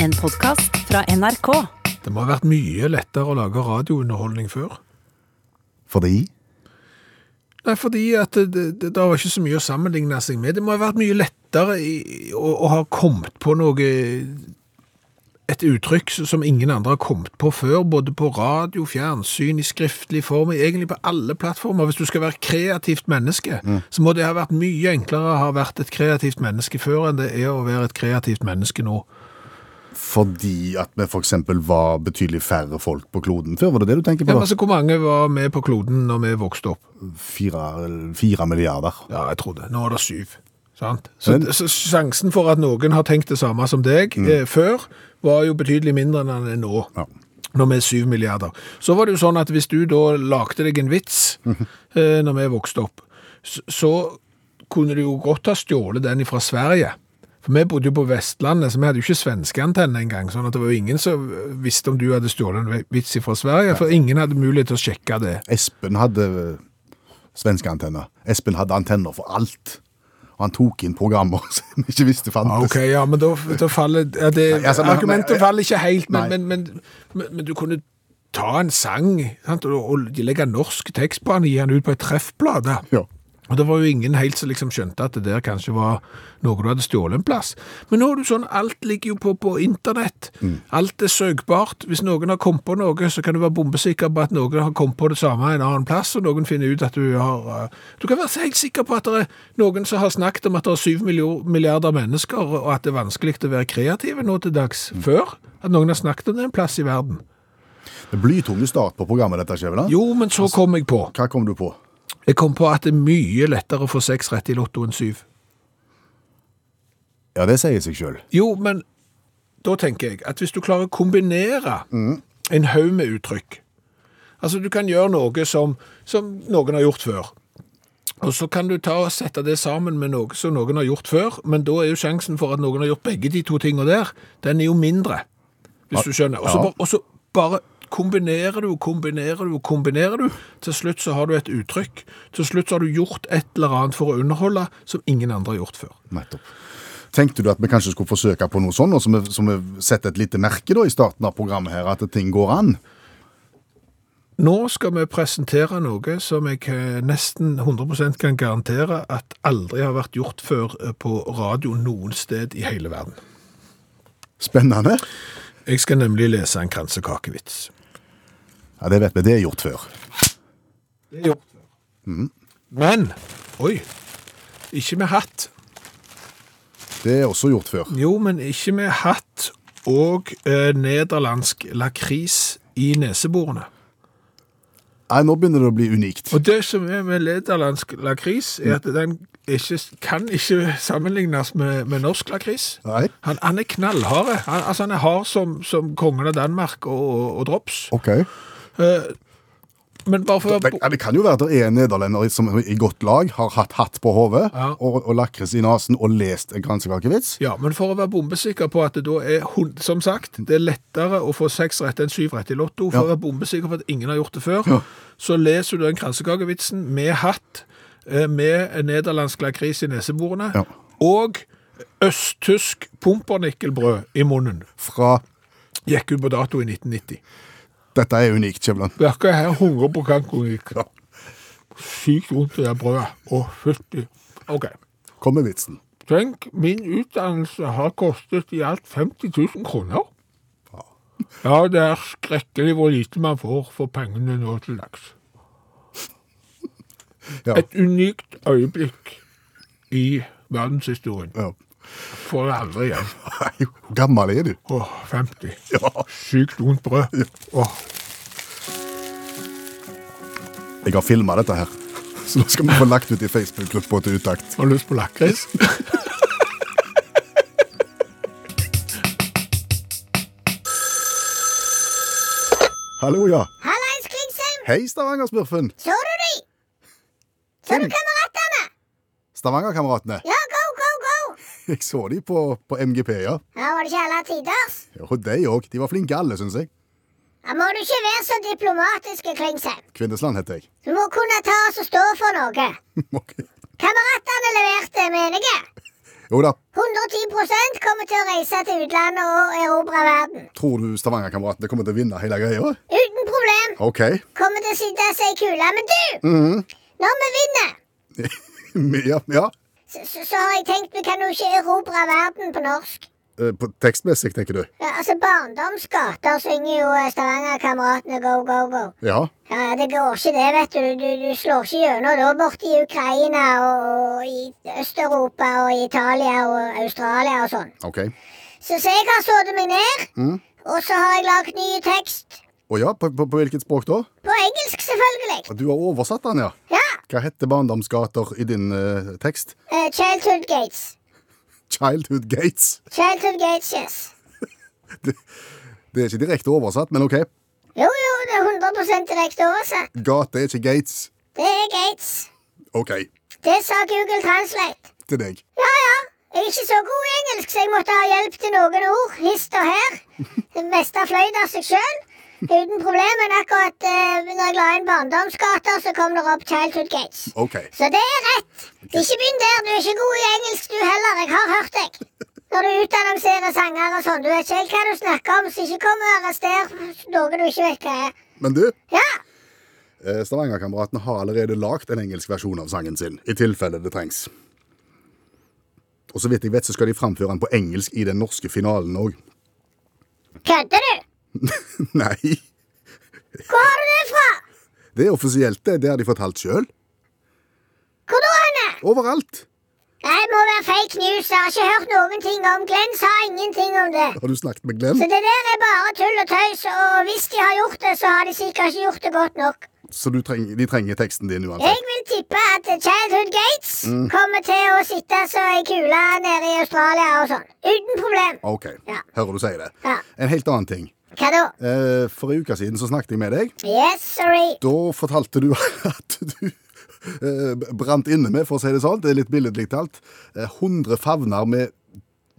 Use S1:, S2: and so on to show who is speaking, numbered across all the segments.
S1: En podkast fra NRK.
S2: Det må ha vært mye lettere å lage radiounderholdning før.
S3: Fordi?
S2: Nei, fordi at det, det, det var ikke så mye å sammenligne seg med. Det må ha vært mye lettere i, å, å ha kommet på noe et uttrykk som ingen andre har kommet på før, både på radio, fjernsyn, i skriftlig form, egentlig på alle plattformer. Hvis du skal være kreativt menneske, så må det ha vært mye enklere å ha vært et kreativt menneske før enn det er å være et kreativt menneske nå.
S3: Fordi at vi f.eks. var betydelig færre folk på kloden før? Var det det du tenker
S2: Ja,
S3: på?
S2: men
S3: da?
S2: altså, Hvor mange var med på kloden når vi vokste opp?
S3: Fire, fire milliarder.
S2: Ja, jeg trodde. Nå er det syv. Sant? Så,
S3: Men- Mm.
S2: så sjansen for at noen har tenkt det samme som deg eh, før, var jo betydelig mindre enn den er nå.
S3: Ja.
S2: Når vi er syv milliarder. Så var det jo sånn at hvis du da lagde deg en vits eh, når vi vokste opp, så, så kunne du jo godt ha stjålet den fra Sverige. For vi bodde jo på Vestlandet, så vi hadde jo ikke svenske antenne engang, sånn at det var jo ingen som visste om du hadde stjålet en vits fra Sverige, for ingen hadde mulighet til å sjekke det.
S3: Espen hadde eh, svenske antenner. Espen hadde antenner for alt. Og han tok inn programmer som vi ikke visste
S2: Ja,
S3: fantes.
S2: Ah, Ok, ja, men da, da faller ja, det,
S3: Nei, altså, men-
S2: Argumentet
S3: men-
S2: faller ikke helt, men,
S3: Nei.
S2: men, men, men, men du kunne ta en sang sant, og, og legge norsk tekst på den og gi den ut på ei treffplate.
S3: Ja.
S2: Og det var jo ingen helt som liksom skjønte at det der kanskje var noe du hadde stjålet en plass. Men nå er det jo sånn, alt ligger jo på, på internett. Alt er søkbart. Hvis noen har kommet på noe, så kan du være bombesikker på at noen har kommet på det samme en annen plass, og noen finner ut at du har eh, Du kan være helt sikker på at det er noen som har snakket om at det er syv millio- milliarder mennesker, og at det er vanskelig å være kreative nå til dags. Før at noen har snakket om det en plass i verden.
S3: Det er Blytung start på programmet, dette, Skjæveland.
S2: Jo, men så kom jeg på.
S3: Hva kom du på?
S2: Jeg kom på at det er mye lettere å få seks rett i Lotto enn syv.
S3: Ja, det sier seg sjøl.
S2: Jo, men da tenker jeg at hvis du klarer å kombinere en haug med uttrykk Altså, du kan gjøre noe som, som noen har gjort før. Og så kan du ta og sette det sammen med noe som noen har gjort før, men da er jo sjansen for at noen har gjort begge de to tingene der, den er jo mindre. Hvis du skjønner. Og så
S3: Ja.
S2: bare- Og så bare kombinerer du, kombinerer du, kombinerer du. Til slutt så har du et uttrykk. Til slutt så har du gjort et eller annet for å underholde som ingen andre har gjort før.
S3: Nettopp. Tenkte du at vi kanskje skulle forsøke på noe sånn, og så vi- så vi setter et lite merke da i starten av programmet her, at ting går an?
S2: Nå skal vi presentere noe som jeg eh, nesten 100 kan garantere at aldri har vært gjort før eh, på radio noen sted i hele verden.
S3: Spennende.
S2: Jeg skal nemlig lese en kransekakevits.
S3: Ja, Det vet vi, det er gjort før.
S2: Det er gjort før. Men Oi. Ikke med hatt.
S3: Det er også gjort før.
S2: Jo, men ikke med hatt og eh, nederlandsk lakris i neseborene.
S3: Nei, nå begynner det å bli unikt.
S2: Og det som er med nederlandsk lakris, er at den ikke, kan ikke sammenlignes med, med norsk lakris.
S3: Nei?
S2: Han, han er knallharde. Han, altså, han er hard som, som kongen av Danmark og, og, og drops.
S3: Ok.
S2: Men bare for å
S3: Det,
S2: være
S3: ja, det kan jo være at det er en nederlender som i godt lag har hatt hatt på hodet
S2: Ja.
S3: og, og lakris i nesen og lest en kransekakevits.
S2: ja, men for å være bombesikker på at det da er hun- Som sagt, det er lettere å få seks rett enn syv rett i Lotto. For
S3: Ja.
S2: å være bombesikker på at ingen har gjort det før,
S3: Ja.
S2: så leser du den kransekakevitsen med hatt, eh, med en nederlandsk lakris i neseborene
S3: Ja.
S2: og østtysk pumpernikkelbrød i munnen.
S3: Fra
S2: Gikk ut på dato i 1990.
S3: Dette er unikt, Kjevland.
S2: Dere her hungrer på kankonik. Sykt vondt i det der brødet. Å, fytti. Ok.
S3: Kom med vitsen.
S2: Tenk, min utdannelse har kostet i alt 50 000 kroner. Ja, det er skrekkelig hvor lite man får for pengene nå til dags.
S3: Ja.
S2: Et unikt øyeblikk i verdenshistorien.
S3: Ja.
S2: Får det aldri igjen.
S3: Nei, Hvor gammel er du?
S2: Å, 50.
S3: Ja.
S2: Sykt vondt brød. Åh.
S3: Jeg har filma dette her, så nå skal vi få lagt ut i Facebook-gruppa til Utakt.
S2: Har du lyst på lakris?
S3: Hallo, ja.
S4: Hallais, Klingsheim!
S3: Hei, Stavanger-smurfen.
S4: Så du de? Så du kameratene?
S3: Stavanger-kameratene.
S4: Ja, go, go, go!
S3: Jeg så de på, på MGP, ja.
S4: Ja, var det ikke alle tiders?
S3: Og de òg. De var flinke alle, syns jeg.
S4: Ja, må du ikke være så diplomatisk, Klingsheim.
S3: Kvindesland heter jeg.
S4: Du må kunne ta oss og stå for noe.
S3: Ok.
S4: Kameratene leverte, mener jeg.
S3: Jo da,
S4: 110 kommer til å reise til utlandet og erobre verden.
S3: tror du Stavanger-kameratene kommer til å vinne hele greia?
S4: Uten problem.
S3: OK.
S4: Kommer til å sitte seg i kula. Men du, når vi vinner,
S3: ja, ja.
S4: så, så, så har jeg tenkt vi kan jo ikke erobre verden på norsk.
S3: Eh, På tekstmessig, tenker du?
S4: Ja, altså Barndomsgater synger jo eh, Stavanger-kameratene go, go, go.
S3: Ja.
S4: Ja, ja, Det går ikke det, vet du. Du, du slår ikke gjennom da borte i Ukraina og, og i Øst-Europa og Italia og Australia og sånn.
S3: OK.
S4: Så, så jeg har sittet meg ned, og så har jeg lagd ny tekst.
S3: Å ja, på, på, på hvilket språk da?
S4: På engelsk, selvfølgelig.
S3: Du har oversatt den, ja.
S4: Ja.
S3: Hva heter barndomsgater i din eh, tekst?
S4: eh, childhood gates.
S3: Childhood Gates.
S4: Childhood gates, yes.
S3: Det er ikke direkte oversatt, men OK.
S4: Jo, jo, det er 100 direkte oversatt.
S3: Gate er ikke gates.
S4: Det er gates.
S3: OK.
S4: Det sa Google Translate.
S3: Til deg.
S4: Ja, ja. Jeg er ikke så god i engelsk, så jeg måtte ha hjelp til noen ord. Hist og her. Det meste fløy av seg sjøl. Uten problem, men akkurat eh, når jeg la inn barndomsgater, så kom det opp Childhood Gates.
S3: OK.
S4: Så det er rett. Ikke begynn der. Du er ikke god i engelsk, du heller. Jeg har hørt deg. Når du utannonserer sanger og sånn. Du vet ikke helt hva du snakker om, så ikke kom og arrester noe du ikke vet hva er.
S3: Men du,
S4: Ja,
S3: eh, Stavanger-kameratene har allerede lagd en engelsk versjon av sangen sin, i tilfelle det trengs. Og så vidt jeg vet, så skal de framføre den på engelsk i den norske finalen òg.
S4: kødder du?
S3: Nei,
S4: Hvor har du det fra?
S3: det er offisielt, det. Det har de fortalt sjøl.
S4: Hvor da, henne?
S3: Overalt.
S4: Nei, må være fake news. Jeg har ikke hørt noen ting om Glenn sa ingenting om det.
S3: Har du snakket med Glenn?
S4: Så det der er bare tull og tøys, og hvis de har gjort det, så har de sikkert ikke gjort det godt nok.
S3: Så du trenger, de trenger teksten din uansett.
S4: Jeg vil tippe at Childhood Gates kommer til å sitte så i kula nede i Australia og sånn. Uten problem.
S3: Ah, OK.
S4: Ja.
S3: Hører du sier det.
S4: Ja.
S3: En helt annen ting.
S4: Hva da?
S3: Eh, for en uke siden så snakket jeg med deg.
S4: Yes, sorry.
S3: Da fortalte du at du eh, brant inne med, for å si det sånn, det er litt billedlig talt, eh, 100 favner med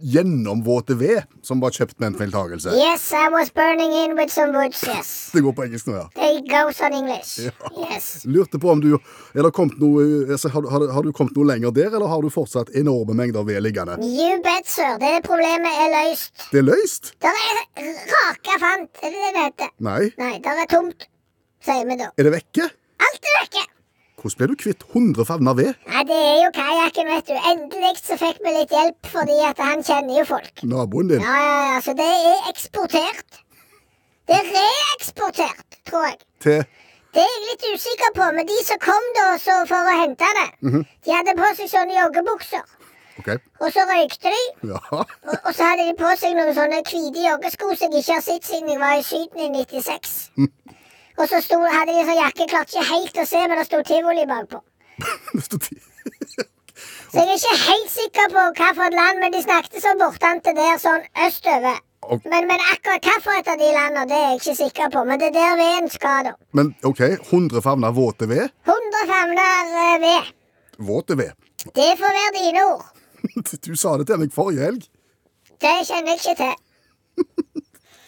S3: gjennomvåte ved som var kjøpt med en feiltagelse.
S4: Yes, I was burning in with some woods, yes.
S3: Det går på engelsk nå, ja.
S4: They goes on English. Yes.
S3: Lurte på om du er det kommet noe, altså, har, du- har, du- har du kommet noe lenger der, eller har du fortsatt enorme mengder ved liggende?
S4: You bet, sir. Det problemet er løst.
S3: Det er løst?
S4: Der er raka fant, er det det det heter?
S3: Nei.
S4: Nei, der er tomt, sier vi da.
S3: Er det vekke?
S4: Alt er vekke.
S3: Hvordan ble du kvitt 100 favner ved?
S4: Nei, det er jo kajakken, vet du. Endelig så fikk vi litt hjelp, fordi at han kjenner jo folk.
S3: Naboen din?
S4: Ja, ja, ja, så det er eksportert. Det er reeksportert, tror jeg.
S3: Til
S4: Det er jeg litt usikker på, men de som kom da så for å hente det, de hadde på seg sånne joggebukser.
S3: OK.
S4: Og så røykte de,
S3: Ja.
S4: og, og så hadde de på seg noen sånne hvite joggesko som jeg ikke har sett siden jeg var i Syden i 96. Og så sto, hadde de en sånn jakke, klarte ikke helt å se, men det sto tivoli bakpå.
S3: Det sto ti-
S4: Så jeg er ikke helt sikker på hvilket land, men de snakket sånn bortante der, sånn østover.
S3: Ok.
S4: Men, men akkurat hvilket av de landene, det er jeg ikke sikker på. Men det er der veden skal, da.
S3: Men OK, 100 favner våte ved?
S4: 100 favner eh, ved.
S3: Våte ved.
S4: Det får være dine ord.
S3: Du sa det til meg forrige helg.
S4: Det kjenner jeg ikke til.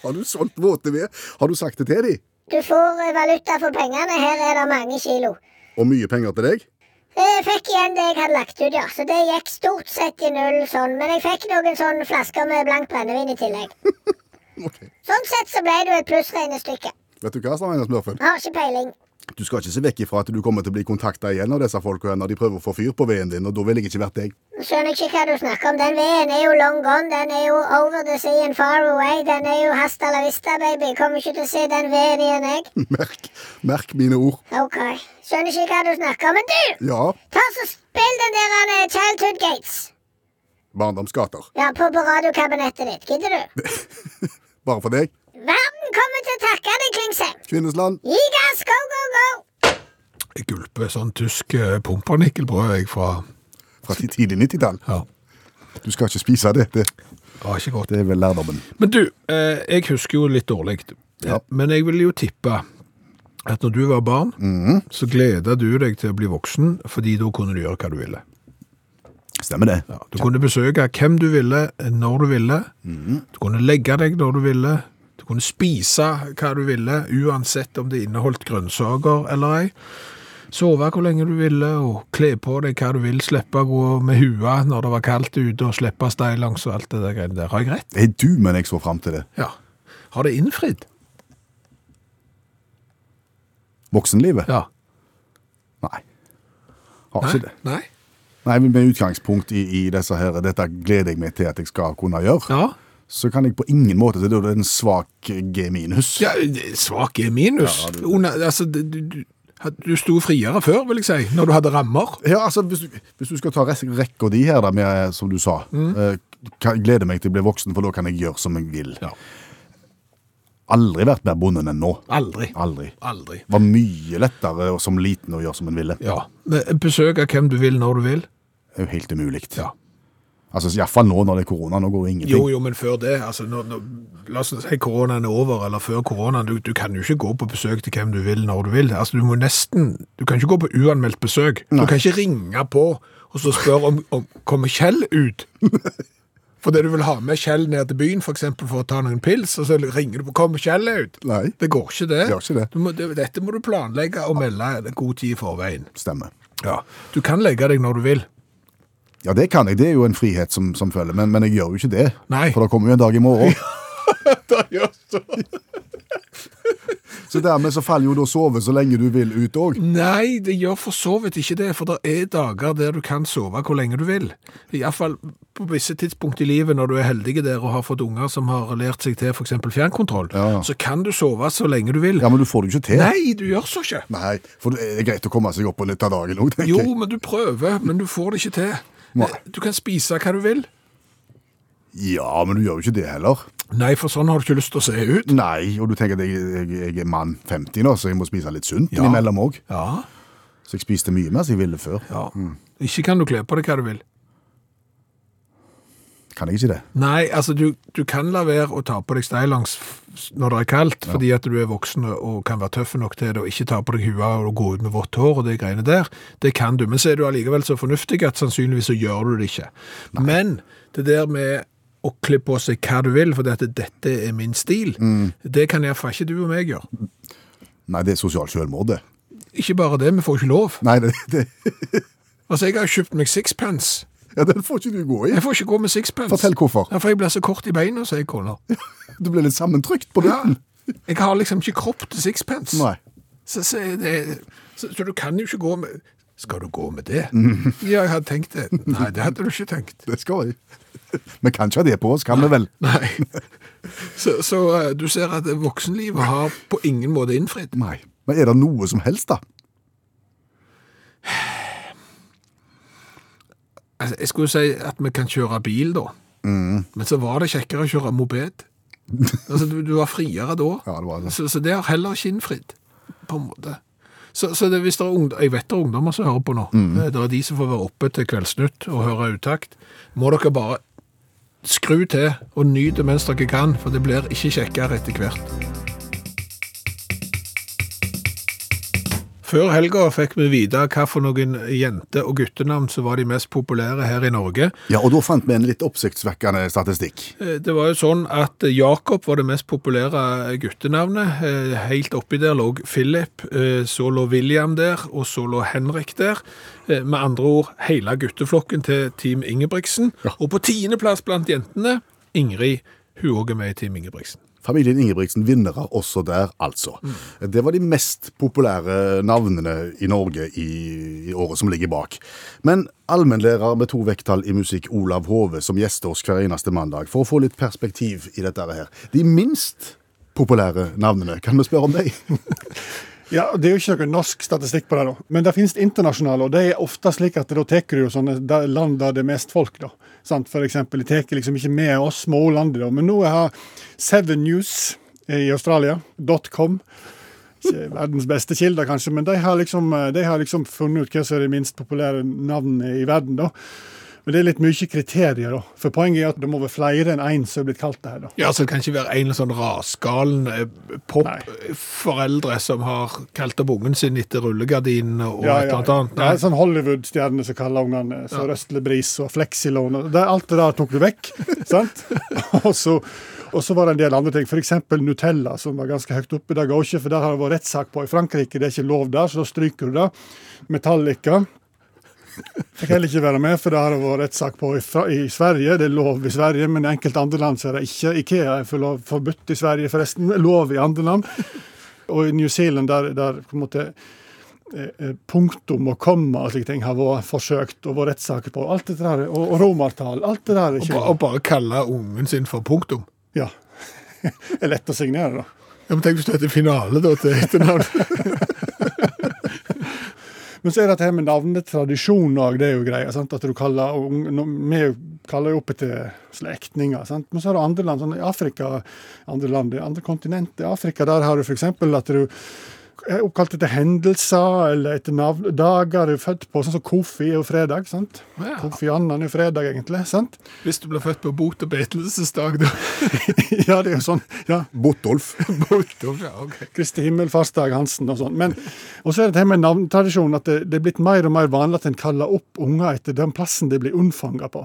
S3: Har du solgt våte ved? Har du sagt det til dem?
S4: Du får eh, valuta for pengene. Her er det mange kilo. Eh,
S3: Og mye penger til deg?
S4: Jeg fikk igjen det jeg hadde lagt ut, ja. Så det gikk stort sett i null sånn. Men jeg fikk noen sånne flasker med blankt brennevin i tillegg.
S3: Ok.
S4: Sånn sett så ble det jo et plussregnestykke.
S3: Vet du hva, Stavanger Smurfen?
S4: Har ikke peiling.
S3: Du skal ikke se vekk ifra at du kommer til å bli kontakta igjen av disse folka her når de prøver å få fyr på veden din, og da vil jeg ikke vært deg.
S4: Nå skjønner jeg ikke hva du snakker om. Den veden er jo long gone. Den er jo over the sea and far away. Den er jo hasta la vista, baby. Jeg Kommer ikke til å se den veden igjen, jeg.
S3: Merk, merk mine ord.
S4: Ok. Skjønner ikke hva du snakker om. Men du!
S3: Ja,
S4: Ta så Spill den der eh, Childhood Gates
S3: barndomsgater.
S4: Ja, på, på radiokabinettet ditt. Gidder du?
S3: Bare for deg.
S4: Verden kommer til å takke deg, Klingsheim.
S3: Kvinnesland.
S4: Gi gass! Go, go, go!
S2: Jeg gulper sånn tysk eh, pumpernikkelbrød jeg fra
S3: Fra ti- tidlig 90-tall.
S2: ja.
S3: Du skal ikke spise det. det.
S2: Det var ikke godt.
S3: Det er vel lærdommen.
S2: Men du, eh, jeg husker jo litt dårlig,
S3: Ja.
S2: men jeg vil jo tippe at når du var barn, så gleda du deg til å bli voksen, fordi da kunne du gjøre hva du ville.
S3: Stemmer det.
S2: Ja, du kunne besøke hvem du ville, når du ville. Du kunne legge deg når du ville. Du kunne spise hva du ville, uansett om det inneholdt grønnsaker eller ei. sove hvor lenge du ville, og kle på deg hva du vil, slippe å gå med hua når det var kaldt ute, og slippe stillongs og alt det der greiene der. Har jeg rett?
S3: Nei, du, men jeg så fram til det.
S2: Ja. Har det innfridd?
S3: Voksenlivet?
S2: Ja.
S3: Nei. Har
S2: Nei?
S3: ikke det.
S2: Nei?
S3: Nei, men Med utgangspunkt i, i disse her, dette gleder jeg meg til at jeg skal kunne gjøre,
S2: Ja.
S3: så kan jeg på ingen måte Det er jo en svak G minus.
S2: Ja, svak er minus. Under, altså, du, du, du sto friere før, vil jeg si, når du hadde rammer.
S3: Ja, altså, hvis du, hvis du skal ta res- rekka di her, da, med, eh, som du sa
S2: Mm.
S3: eh, kan- jeg Gleder meg til å bli voksen, for da kan jeg gjøre som jeg vil.
S2: Ja.
S3: Aldri vært mer bonden enn nå.
S2: Aldri.
S3: Aldri.
S2: Aldri.
S3: Var mye lettere og som liten å gjøre som en ville.
S2: Ja. Men Besøke hvem du vil, når du vil.
S3: Det er jo helt umulig.
S2: Ja.
S3: Altså, Iallfall nå når det er korona. Nå går det ingenting.
S2: Jo, jo, men før det, altså, nå, nå, la oss si koronaen er over, eller før koronaen, du, du kan jo ikke gå på besøk til hvem du vil, når du vil. Altså, du må nesten, du kan ikke gå på uanmeldt besøk. Du kan ikke ringe på og så spørre om, om kommer Kjell ut? Fordi du vil ha med Kjell ned til byen, for eksempel, for å ta noen pils, og så ringer du på, kommer Kjell ut?
S3: Nei.
S2: Det går ikke det.
S3: Det gjør ikke det.
S2: Du må, det dette må du planlegge og melde god tid i forveien.
S3: Stemmer.
S2: Ja. Du kan legge deg når du vil.
S3: Ja, det kan jeg. Det er jo en frihet som, som følger, men, men jeg gjør jo ikke det.
S2: Nei.
S3: For det kommer jo en dag i morgen.
S2: Da gjør så.
S3: Så dermed så faller jo da sove så lenge du vil ut òg.
S2: Nei, det gjør for så vidt ikke det, for det er dager der du kan sove hvor lenge du vil. Iallfall på visse tidspunkt i livet når du er heldig der og har fått unger som har lært seg til f.eks. fjernkontroll,
S3: Ja.
S2: så kan du sove så lenge du vil.
S3: Ja, men du får det jo ikke til.
S2: Nei, du gjør så ikke.
S3: Nei, for det er greit å komme seg opp på litt av dagen òg, tenker
S2: Jo,
S3: jeg.
S2: men du prøver, men du får det ikke til. Eh,
S3: Nei.
S2: Du kan spise hva du vil.
S3: Ja, men du gjør jo ikke det heller.
S2: Nei, for sånn har du ikke lyst til å se ut.
S3: Nei, og du tenker at jeg, jeg, jeg er mann 50 nå, så jeg må spise litt sunt
S2: Ja.
S3: innimellom òg.
S2: Ja,
S3: Så jeg spiste mye mer som jeg ville før.
S2: ja. Ikke kan du kle på deg hva du vil.
S3: Kan jeg ikke det?
S2: Nei, altså du, du kan la være å ta på deg stillongs f- når det er kaldt, fordi at du er voksen og kan være tøff nok til det, og ikke ta på deg hua og gå ut med vått hår og de greiene der. Det kan du, men så er du allikevel så fornuftig at sannsynligvis så gjør du det ikke. Men det der med å kle på seg hva du vil, for dette, dette er min stil,
S3: Mm.
S2: det kan iallfall ikke du og meg gjøre.
S3: Nei, det er sosialt selvmord, det.
S2: Ikke bare det, vi får ikke lov.
S3: Nei, det, det,
S2: Altså, jeg har kjøpt meg sixpence.
S3: ja, den får ikke du gå i.
S2: Jeg får ikke gå med sixpence.
S3: Fortell hvorfor.
S2: Ja, for jeg blir så kort i beina, sier kona.
S3: Du blir litt sammentrykt på
S2: Ja.
S3: midten.
S2: Jeg har liksom ikke kropp til sixpence.
S3: Nei.
S2: Så, så, er det, så, så du kan jo ikke gå med Skal du gå med det? Ja, jeg hadde tenkt det. Nei, det hadde du ikke tenkt.
S3: Det skal jeg. Vi kan ikke ha det på oss, kan vi vel?
S2: Nei. Så, så eh, du ser at voksenlivet har på ingen måte innfridd.
S3: Nei. Men er det noe som helst, da?
S2: Altså, jeg skulle si at vi kan kjøre bil da,
S3: Mm.
S2: men så var det kjekkere å kjøre moped. Altså, du, du var friere da,
S3: Ja, det var det.
S2: Så, så det har heller ikke innfridd, på en måte. Så, så det, hvis det er ungdom, jeg vet det er ungdommer som hører på nå,
S3: Mm.
S2: Eh, det er de som får være oppe til kveldsnytt og høre uttakt, må dere bare skru til og nyte mens dere kan, for det blir ikke kjekkere etter hvert. Før helga fikk vi vite hva for noen jente- og guttenavn som var de mest populære her i Norge.
S3: Ja, og da fant vi en litt oppsiktsvekkende statistikk.
S2: Eh, Det var jo sånn at Jakob var det mest populære guttenavnet. Eh, Helt oppi der lå Philip, eh, så lå William der, og så lå Henrik der. Eh, Med andre ord hele gutteflokken til Team Ingebrigtsen. Og på tiendeplass blant jentene, Ingrid. Hun òg er med i Team Ingebrigtsen.
S3: Familien Ingebrigtsen vinnere også der, altså.
S2: Mm.
S3: Det var de mest populære navnene i Norge i, i året som ligger bak. Men allmennlærer med to vekttall i musikk, Olav Hove, som gjester oss hver eneste mandag for å få litt perspektiv i dette her. De minst populære navnene, kan vi spørre om deg?
S5: Ja, Det er jo ikke noe norsk statistikk på det, da. Men det finnes internasjonale, og det er ofte slik at da tar du jo sånne der- land der det er mest folk, da. Sant? For eksempel, de tar liksom ikke med oss små landet, da. Men nå har Seven News i Australia, .com, ikke verdens beste kilder kanskje, men de har liksom, de har liksom funnet ut hva som er de minst populære navnene i verden, da. Men det er litt mye kriterier, da. For poenget er at det må være flere enn én som er blitt kalt det her, da.
S2: Ja, så Det kan ikke være en sånn rasgalen eh,
S5: Nei.
S2: popforeldre som har kalt opp ungen sin etter rullegardinene og et eller annet.
S5: Det er
S2: Nei.
S5: sånn Hollywood-stjerne som kaller ungene eh, så Røstlebris og Flexilon. og Det, alt det der tok du vekk. sant? Og så, Og så var det en del andre ting, f.eks. Nutella, som var ganske høyt oppe. Det går ikke, for der har det vært rettssak på i Frankrike, det er ikke lov der, så da stryker du det. Metallica. Fikk heller ikke være med, for det har det vært rettssak på i, Fra- i Sverige. Det er lov i Sverige, men i enkelte andre land så er det ikke. Ikea er for lov, forbudt i Sverige, forresten. Lov i andre land. Og i New Zealand, der, der på en måte eh, eh, punktum og komma og slike ting har vært forsøkt og vært rettssaker på. Alt dette der, og, og romertall. Alt det der er
S2: Og
S5: ikke
S2: bare, og bare kalle ungen sin for punktum.
S5: Ja. Det er lett å signere, da.
S2: Ja, men Tenk hvis du heter Finale da, til etternavn.
S5: Men så er dette her med navnetradisjon òg, det er jo greia. sant, At du kaller ung- no- Vi kaller jo opp til slektninger. sant, Men så er det andre land, sånn i Afrika, andre land, i andre kontinent i Afrika, der har du f.eks. at du er oppkalt etter hendelser eller etter navn, dager du er født på, sånn som Kofi er jo fredag. sant?
S2: Ja.
S5: Kofi Annan er jo fredag, egentlig. sant?
S2: Hvis du blir født på bot- og betelsesdag, da.
S5: Ja, det er jo sånn. ja.
S3: Botolf.
S2: Bottom, ja, ok.
S5: Kristi himmelfartsdag Hansen og sånn. Men og så er det det med navnetradisjonen at det, det er blitt mer og mer vanlig at en kaller opp unger etter den plassen de blir unnfanga på.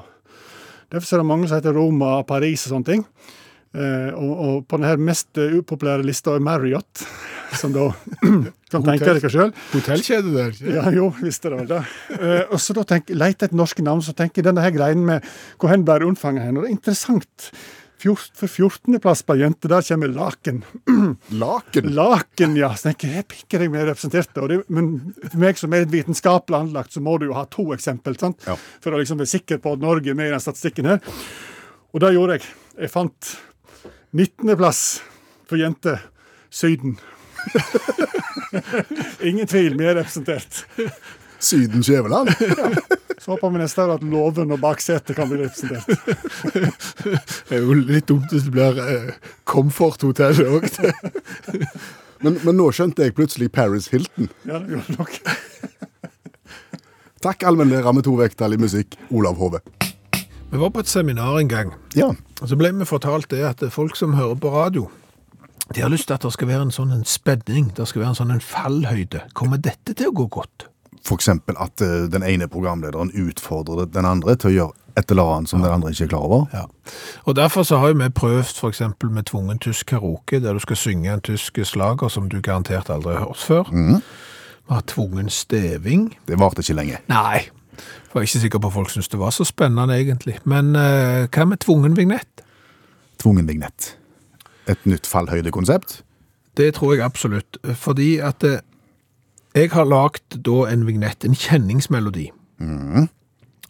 S5: Derfor er det mange som heter Roma, Paris og sånne ting. Eh, og, og på denne mest eh, upopulære lista er Marriott, som da kan tenke dere sjøl.
S2: Hotellkjede der. ikke?
S5: Ja, jo, visste det vel det. Eh, og så da tenk, Lete etter norske navn, så tenker jeg denne her greien med hvor hen ble det unnfanget hen? Og det er interessant. Fjort, for 14.-plass på ei jente, der kommer laken.
S3: Laken.
S5: Laken, ja. Så tenker jeg, her pikker jeg meg representert. Og det, men for meg som er litt videnskapelig anlagt, så må du jo ha to eksempel, sant?
S3: Ja.
S5: for å liksom være sikker på at Norge er med i den statistikken her. Og det gjorde jeg. Jeg fant 19.-plass for jenter Syden. Ingen tvil, vi er representert.
S3: Syden Skjæveland.
S5: Så håper vi neste år at låven og baksetet kan bli representert.
S2: Det er jo litt dumt hvis det blir eh, komforthotell òg.
S3: Men, men nå skjønte jeg plutselig Paris Hilton.
S5: Ja, det gjorde nok.
S3: Takk, allmennlærer med to vekttall i musikk, Olav Hove.
S2: Vi var på et seminar en gang,
S3: Ja.
S2: og så ble vi fortalt det at folk som hører på radio, de har lyst til at det skal være en sånn en spenning, det skal være en sånn en fallhøyde. Kommer dette til å gå godt?
S3: For eksempel at eh, den ene programlederen utfordrer den andre til å gjøre et eller annet som den andre ikke er klar over.
S2: Ja. Og derfor så har jo vi prøvd f.eks. med tvungen tysk karaoke, der du skal synge en tysk slager som du garantert aldri har hørt før. Vi har tvungen steving.
S3: Det varte ikke lenge.
S2: Nei, for jeg er ikke sikker på at folk syntes det var så spennende egentlig. Men eh, hva med tvungen vignett?
S3: Tvungen vignett. Et nytt fallhøydekonsept.
S2: Det tror jeg absolutt, fordi at eh, jeg har lagt da en vignett, en kjenningsmelodi,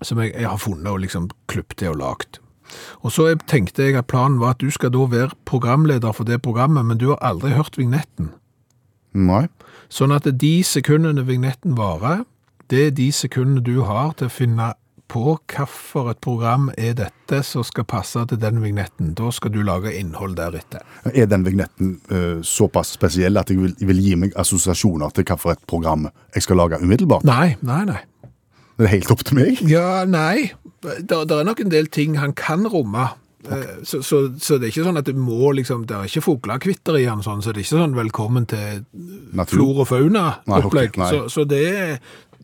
S2: som jeg, jeg har funnet og liksom klippt til og lagt. Og så jeg- tenkte jeg at planen var at du skal da være programleder for det programmet, men du har aldri hørt vignetten.
S3: Nei.
S2: Sånn at de sekundene vignetten varer, det er de sekundene du har til å finne på hva for et program er dette som skal passe til den vignetten. Da skal du lage innhold deretter.
S3: Er den vignetten eh, såpass spesiell at jeg vil, vil gi meg assosiasjoner til hvilket program jeg skal lage umiddelbart?
S2: Nei, nei, nei.
S3: Det er helt opp til meg.
S2: Ja, nei. Det er nok en del ting han kan romme. Eh, Så, så, så det er ikke sånn at det må liksom, det er ikke fuglekvitter i han sånn, så det er ikke sånn velkommen til
S3: Natur.
S2: flor og
S3: Nei, ok,
S2: fauna-opplegg.
S3: nei.
S2: Så, så det er,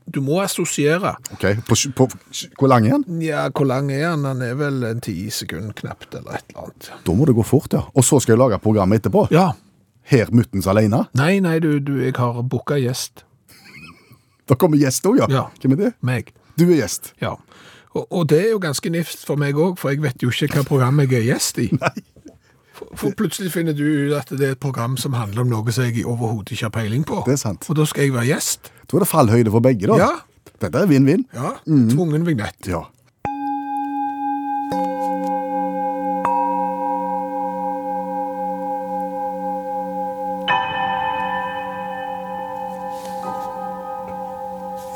S2: du må assosiere.
S3: Ok, på, sj- på, sj- Hvor lang er den?
S2: Ja, hvor lang er han? Han er vel en ti sekund knapt, eller et eller annet.
S3: Da må det gå fort, ja. Og så skal jeg lage programmet etterpå.
S2: Ja,
S3: Her muttens alene.
S2: nei, nei, du, du jeg har booka gjest.
S3: Da kommer gjest òg, ja.
S2: Ja.
S3: Hvem er det?
S2: Meg.
S3: Du er gjest.
S2: Ja. Og, og det er jo ganske nifst for meg òg, for jeg vet jo ikke hva program jeg er gjest i. For, for plutselig finner du ut at det er et program som handler om noe som jeg overhodet ikke har peiling på.
S3: Det er sant.
S2: Og da skal jeg være gjest.
S3: Da er det fallhøyde for begge, da.
S2: Ja.
S3: Dette er vinn-vinn.
S2: Ja.
S3: Mhm.
S2: Tvungen vignett.
S3: Ja.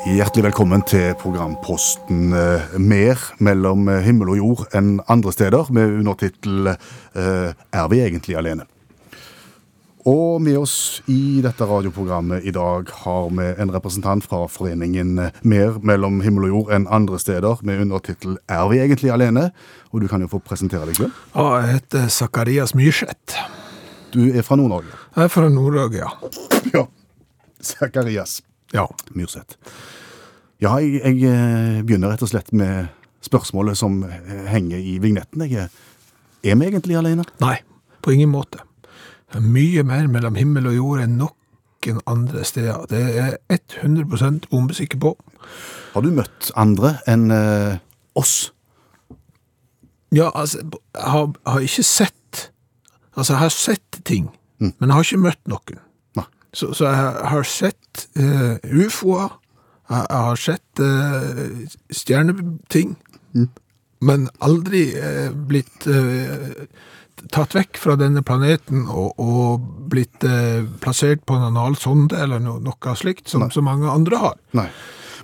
S3: Hjertelig velkommen til programposten eh, Mer mellom eh, himmel og jord enn andre steder, med undertittel eh, Er vi egentlig alene? Og med oss i dette radioprogrammet i dag har vi en representant fra foreningen Mer mellom himmel og jord enn andre steder, med undertittel Er vi egentlig alene? Og du kan jo få presentere deg selv.
S2: Og jeg heter Zakarias Myrseth.
S3: Du er fra Nord-Norge.
S2: Jeg er fra Nord-Norge, ja.
S3: Ja. Zakarias
S2: ja.
S3: Myrseth. Ja, jeg, jeg eh, begynner rett og slett med spørsmålet som eh, henger i vignetten. Jeg er, er vi egentlig alene?
S2: Nei. På ingen måte. Det er mye mer mellom himmel og jord enn noen andre steder. Det er jeg 100 bombesikker på.
S3: Har du møtt andre enn eh, oss?
S2: Ja, altså, jeg har, har ikke sett Altså, jeg har sett ting, men jeg har ikke møtt noen.
S3: Nei.
S2: Så, så jeg har sett eh, ufoer, jeg, jeg har sett eh, stjerneting, men aldri eh, blitt eh, tatt vekk fra denne planeten og, og blitt eh, plassert på en anal sonde eller no, noe slikt, som så mange andre har.
S3: Nei.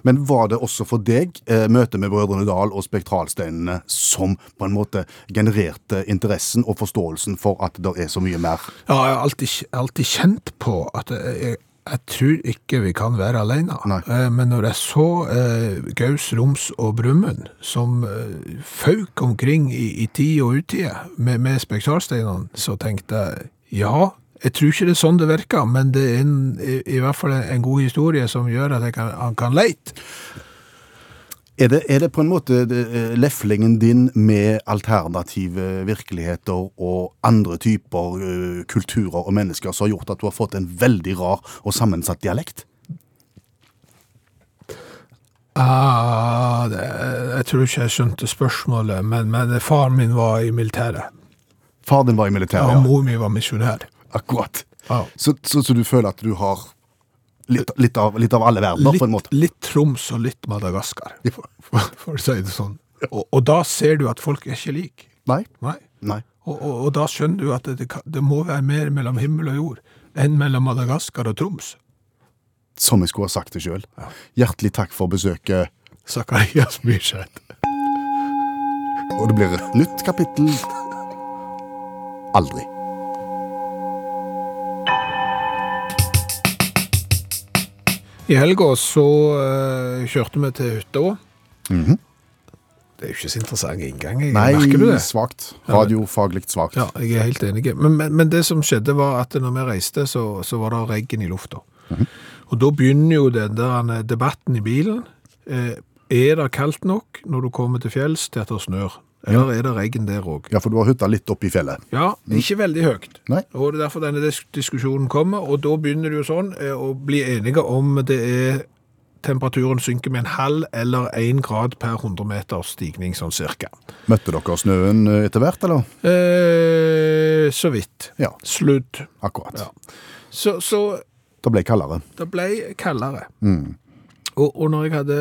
S3: Men var det også for deg eh, møtet med Brødrene Dal og Spektralsteinene som på en måte genererte interessen og forståelsen for at det er så mye mer?
S2: Ja, jeg har alltid, alltid kjent på at jeg, jeg, jeg tror ikke vi kan være alene.
S3: Nei.
S2: Eh, Men når jeg så eh, Gaus, Roms og Brumund som eh, fauk omkring i, i tid og utide med, med spektralsteinene, så tenkte jeg ja, jeg tror ikke det er sånn det virker, men det er en, i, i hvert fall en god historie som gjør at jeg kan, han kan leite.
S3: Er det, er det på en måte det, eh, leflingen din med alternative virkeligheter og andre typer eh, kulturer og mennesker som har gjort at du har fått en veldig rar og sammensatt dialekt?
S2: Ah, det, jeg tror ikke jeg skjønte spørsmålet, men, men faren min var i militæret,
S3: Far din var i
S2: og
S3: militæret, ja.
S2: mor mi var misjonær.
S3: Akkurat.
S2: Ja.
S3: Så, så, så du føler at du har litt, litt, av, litt av alle verdener, på en måte?
S2: litt Troms og litt Madagaskar, for, for, for å si det sånn. Og, og da ser du at folk er ikke like.
S3: Nei?
S2: Nei.
S3: Nei.
S2: Og, og, og da skjønner du at det, det, kan- det må være mer mellom himmel og jord enn mellom Madagaskar og Troms.
S3: Som jeg skulle ha sagt det sjøl. Hjertelig takk for besøket.
S2: Zakarias Myrseth.
S3: Og det blir et nytt kapittel aldri.
S2: I helga så eh, kjørte vi til hytta. Det er jo ikke så interessant inngang, jeg. merker du det?
S3: svakt. Radiofaglig svakt.
S2: Ja, jeg er helt enig. Men, men, men det som skjedde var at når vi reiste, så, så var det regn i lufta. Og da begynner jo den der eh, debatten i bilen. Eh, er det kaldt nok når du kommer til fjells til at det snør? Eller er det regn der òg?
S3: Ja, for du har hytta litt oppe i fjellet.
S2: Ja, ikke veldig høyt.
S3: Nei.
S2: Og det er derfor denne dis- diskusjonen kommer, og da begynner det jo sånn eh, å bli enige om det er temperaturen synker med en halv eller en grad per 100 meters stigning, sånn cirka.
S3: Møtte dere snøen eh, etter hvert, eller?
S2: Eh, så vidt.
S3: Ja,
S2: Slutt.
S3: akkurat.
S2: Ja. Så, så
S3: Det ble kaldere.
S2: Det ble kaldere. Og, og når jeg hadde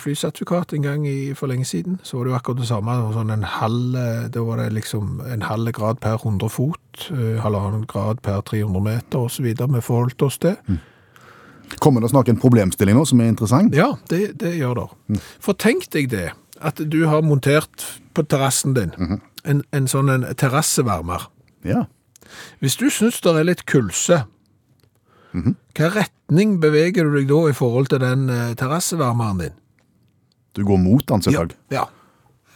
S2: flysertifikat en gang i, for lenge siden, så var det jo akkurat det samme. Det var Sånn en halv, da var det liksom en halv grad per 100 fot, eh, halvannen grad per 300 meter osv. Vi forholdt oss til.
S3: Kommer det snart en problemstilling nå som er interessant?
S2: Ja, det, det gjør det. For tenk deg det, at du har montert på terrassen din en, en sånn en terrassevarmer.
S3: Ja.
S2: Hvis du syns det er litt kulse, hva retning beveger du deg da i forhold til den eh, terrassevarmeren din?
S3: Du går mot
S2: Ja,
S3: den, selvfølgelig.
S2: ja.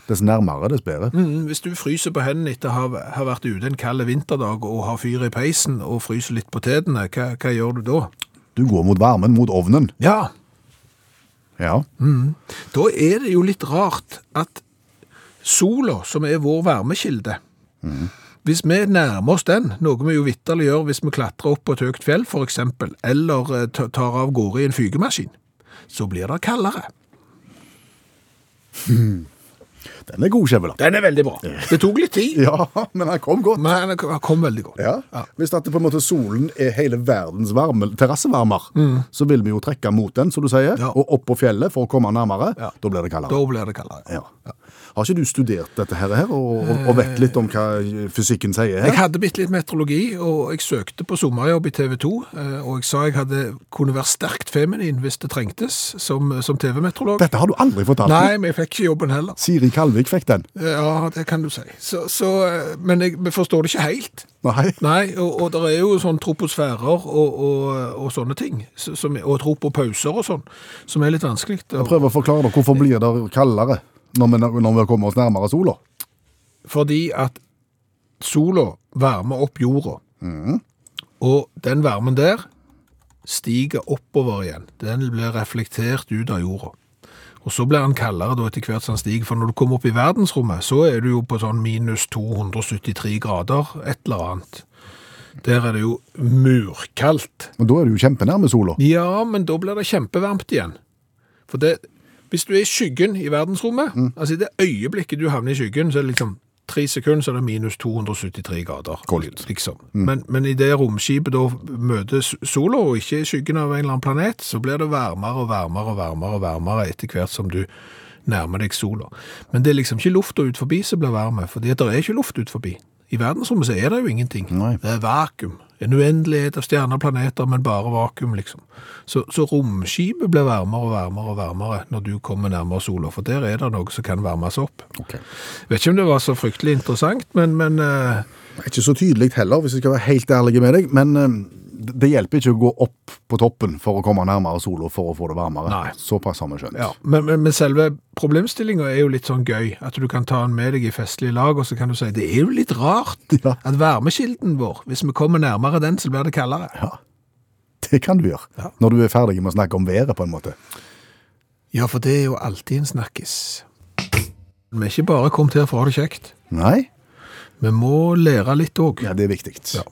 S3: Dess nærmere, dess bedre.
S2: Mm, hvis du fryser på hendene etter å ha, ha vært ute en kald vinterdag og har fyr i peisen og fryser litt på tedene, hva, hva gjør du da?
S3: Du går mot varmen, mot ovnen.
S2: Ja,
S3: Ja.
S2: Mm. da er det jo litt rart at sola, som er vår varmekilde, hvis vi nærmer oss den, noe vi jo vitterlig gjør hvis vi klatrer opp på et høyt fjell for eksempel, eller eh, ta- tar av gårde i en fygemaskin, så blir det kaldere.
S3: Den er god, Skjæveland.
S2: Den er veldig bra. Det tok litt tid,
S3: Ja, men den kom godt.
S2: men den kom veldig godt.
S3: Ja. Hvis at det på en måte solen er hele verdens varme, terrassevarmer, så vil vi jo trekke mot den, som du sier,
S2: Mm. Ja.
S3: og opp på fjellet for å komme nærmere.
S2: Ja.
S3: Da blir det
S2: Da
S3: kaldere.
S2: blir det kaldere.
S3: Ja. Har ikke du studert dette her, her og, og- og vet litt om hva fysikken sier
S2: Jeg
S3: her?
S2: hadde bitte litt meteorologi, og jeg søkte på sommerjobb i TV 2. eh, Og jeg sa jeg hadde, kunne være sterkt feminin hvis det trengtes, som, eh, som TV-meteorolog.
S3: Dette har du aldri fortalt meg.
S2: Nei, men jeg fikk ikke jobben heller.
S3: Siri Kalvik fikk den.
S2: Eh, Ja, det kan du si. Så, så, eh, men jeg vi forstår det ikke helt.
S3: Nei.
S2: Nei, og, og det er jo sånn troposfærer og, og, og sånne ting, så- som, og tropopauser og sånn, som er litt vanskelig. Og,
S3: Prøv å forklare dere hvorfor blir det kaldere når vi, når vi kommer oss nærmere sola.
S2: fordi at sola varmer opp jorda. Og den varmen der stiger oppover igjen. Den blir reflektert ut av jorda. Og så blir han kaldere da etter hvert som han stiger, for når du kommer opp i verdensrommet, så er du jo på sånn minus 273 grader, et eller annet. Der er det jo murkaldt.
S3: Men da er du jo kjempenærme sola.
S2: Ja, men da blir det kjempevarmt igjen. For det, hvis du er i skyggen i verdensrommet, altså i det øyeblikket du havner i skyggen, så er det liksom tre sekunder, så er det minus 273 grader.
S3: Koldt.
S2: Liksom. Men, men i det romskipet da møter s- sola, og ikke i skyggen av en eller annen planet, så blir det varmere og varmere og varmere og varmere etter hvert som du nærmer deg sola. Men det er liksom ikke lufta ut forbi som blir varme, fordi at det er ikke luft ut forbi. I verdensrommet så er det jo ingenting.
S3: Nei.
S2: Det er vakuum. En uendelighet av stjerner og planeter, men bare vakuum, liksom. Så, så romskipet blir varmere og varmere og varmere når du kommer nærmere sola, for der er det noe som kan varmes opp.
S3: Ok.
S2: Vet ikke om det var så fryktelig interessant, men, men eh,
S3: Ikke så tydelig heller, hvis jeg skal være helt ærlig med deg, men eh, det- det hjelper ikke å gå opp på toppen for å komme nærmere sola for å få det varmere.
S2: Nei.
S3: Såpass har vi skjønt.
S2: ja. Men, men, men selve problemstillinga er jo litt sånn gøy. At du kan ta den med deg i festlige lag, og så kan du si det er jo litt rart
S3: Ja.
S2: at varmekilden vår, hvis vi kommer nærmere den, så blir det kaldere.
S3: Det kan du gjøre,
S2: Ja.
S3: når du er ferdig med å snakke om været, på en måte.
S2: Ja, for det er jo alltid en snakkis. Vi er ikke bare kommet her for å ha det kjekt.
S3: Nei?
S2: Vi må lære litt òg.
S3: Ja, det er viktig.
S2: Ja.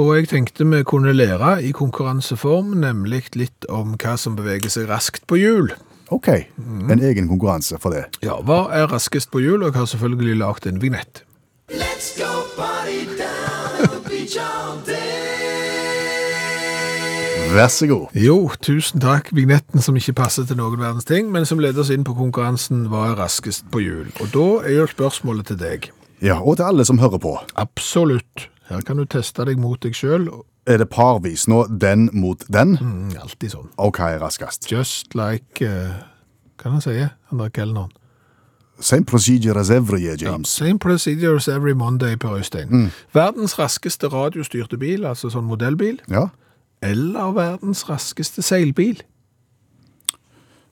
S2: Og jeg tenkte vi kunne lære i konkurranseform, nemlig litt om hva som beveger seg raskt på hjul.
S3: Ok, en egen konkurranse for det.
S2: Ja, hva er raskest på hjul? Og jeg har selvfølgelig lagt en vignett.
S6: Let's go party down at the beach all day.
S3: Vær så god.
S2: Jo, tusen takk. Vignetten som ikke passer til noen verdens ting, men som leder oss inn på konkurransen Hva er raskest på hjul? Og da er jo spørsmålet til deg.
S3: Ja, og til alle som hører på,
S2: Absolutt. Her kan du teste deg mot deg sjøl.
S3: er det parvis nå den mot den,
S2: Mm, alltid sånn.
S3: og hva er raskest?
S2: Just like eh, Hva er det han sier, han der kelneren?
S3: Same procedure as every year, James.
S2: Same procedures every Monday, Per Øystein. Verdens raskeste radiostyrte bil, altså sånn modellbil,
S3: Ja,
S2: eller verdens raskeste seilbil.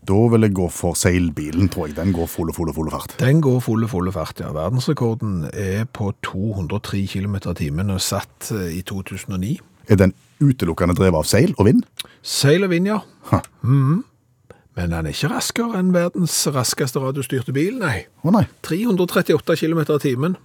S3: da vil jeg gå for seilbilen, tror jeg. Den går fulle, fulle, fulle fart.
S2: Den går fulle, fulle fart, ja. Verdensrekorden er på 203 km i timen og satt eh, i 2009.
S3: Er den utelukkende drevet av seil og vind?
S2: Seil og vind, ja.
S3: Ha.
S2: Mhm. Men han er ikke raskere enn verdens raskeste radiostyrte bil, nei.
S3: Å nei,
S2: 338 km i timen.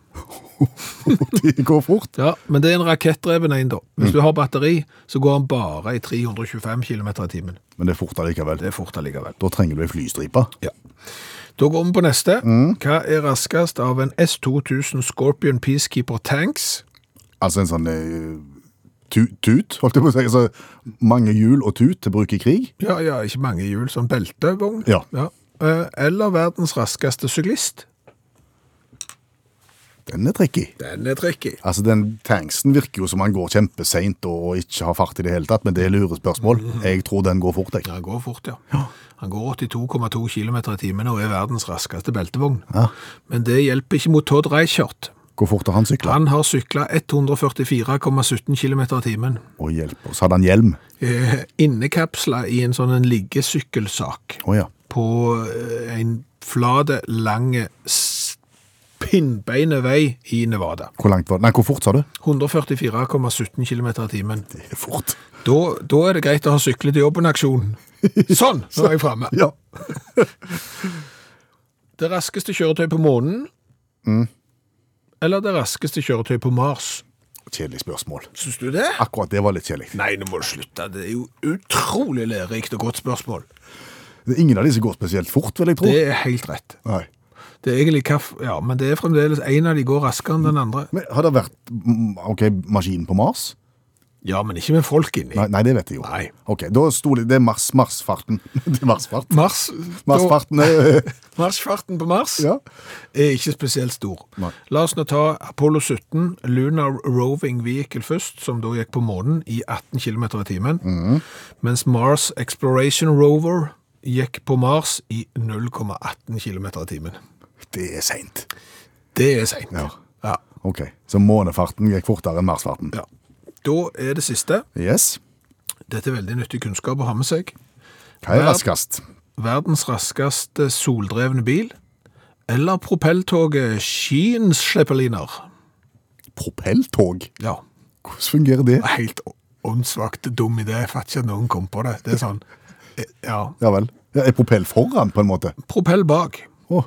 S3: det går fort.
S2: Ja, men det er en rakettdreven en, da. Hvis du har batteri, så går han bare i 325 km i timen.
S3: Men det er fort allikevel.
S2: Det er fort allikevel.
S3: Da trenger du ei flystripe.
S2: Da går vi på neste. Hva er raskest av en S2000 Scorpion Peacekeeper Tanks?
S3: Altså en sånn eh, tu tut, holdt jeg på å si. Altså, mange hjul og tut til bruk i krig.
S2: Ja, ja, ikke mange hjul, sånn beltevogn.
S3: Ja.
S2: Eh, Eller verdens raskeste syklist?
S3: Den er tricky.
S2: Den er tricky.
S3: Altså, den tanksen virker jo som han går kjempeseint og ikke har fart i det hele tatt, men det er lurespørsmål. Jeg tror den går fort, jeg.
S2: Han går fort, ja. Han går 82,2 km i timen og er verdens raskeste beltevogn.
S3: Ja.
S2: Men det hjelper ikke mot Todd Reichert.
S3: Hvor fort har han sykla?
S2: Han har sykla 144,17 km i timen.
S3: Å, hjelp oss. Hadde han hjelm?
S2: Eh, Innekapsla i en sånn en liggesykkelsak.
S3: Å ja.
S2: på eh, en flade, lange, s- pinnbeine vei i Nevada.
S3: Hvor langt var det? Nei, hvor fort sa du?
S2: 144,17 km i timen.
S3: Det er fort.
S2: Da, da er det greit å ha syklet i jobben-aksjonen. Sånn, nå er jeg fremme.
S3: Ja.
S2: Det raskeste kjøretøy på månen, eller det raskeste kjøretøy på Mars?
S3: Kjedelig spørsmål.
S2: Synes du det?
S3: Akkurat det var litt kjedelig.
S2: Nei, nå må du slutte. Det er jo utrolig lærerikt og godt spørsmål.
S3: Det er Ingen av disse går spesielt fort, vil jeg tro.
S2: Det er helt rett.
S3: Nei.
S2: Det er egentlig hva... f- Ja, men det er fremdeles en av de går raskere enn den andre.
S3: Men har det vært mm, OK, maskinen på Mars?
S2: Ja, men ikke med folk inni.
S3: Nei, nei det vet jeg jo.
S2: Nei.
S3: OK, da sto det Det er mars, marsfarten. det er marsfart.
S2: Mars, da-
S3: Marsfarten er
S2: Marsfarten på Mars
S3: Ja.
S2: er ikke spesielt stor.
S3: Nei.
S2: La oss nå ta Apollo 17, Lunar Roving Vehicle først, som da gikk på månen i 18 km i timen,
S3: Mhm.
S2: mens Mars Exploration Rover gikk på Mars i 0,18 km i timen.
S3: Det er seint.
S2: Det er sent.
S3: Ja.
S2: Ja.
S3: OK, så månefarten gikk fortere enn marsfarten.
S2: ja. Da er det siste.
S3: Yes.
S2: Dette er veldig nyttig kunnskap å ha med seg.
S3: Hva er
S2: Hver-
S3: raskest?
S2: Verdens raskeste soldrevne bil, eller propelltoget Schienscheppeliner.
S3: Propelltog?
S2: Ja.
S3: Hvordan fungerer det?
S2: helt åndssvakt dum idé. Jeg fatter ikke at noen kom på det. Det er sånn Ja.
S3: Ja vel. Ja, er propell foran, på en måte?
S2: Propell bak.
S3: Å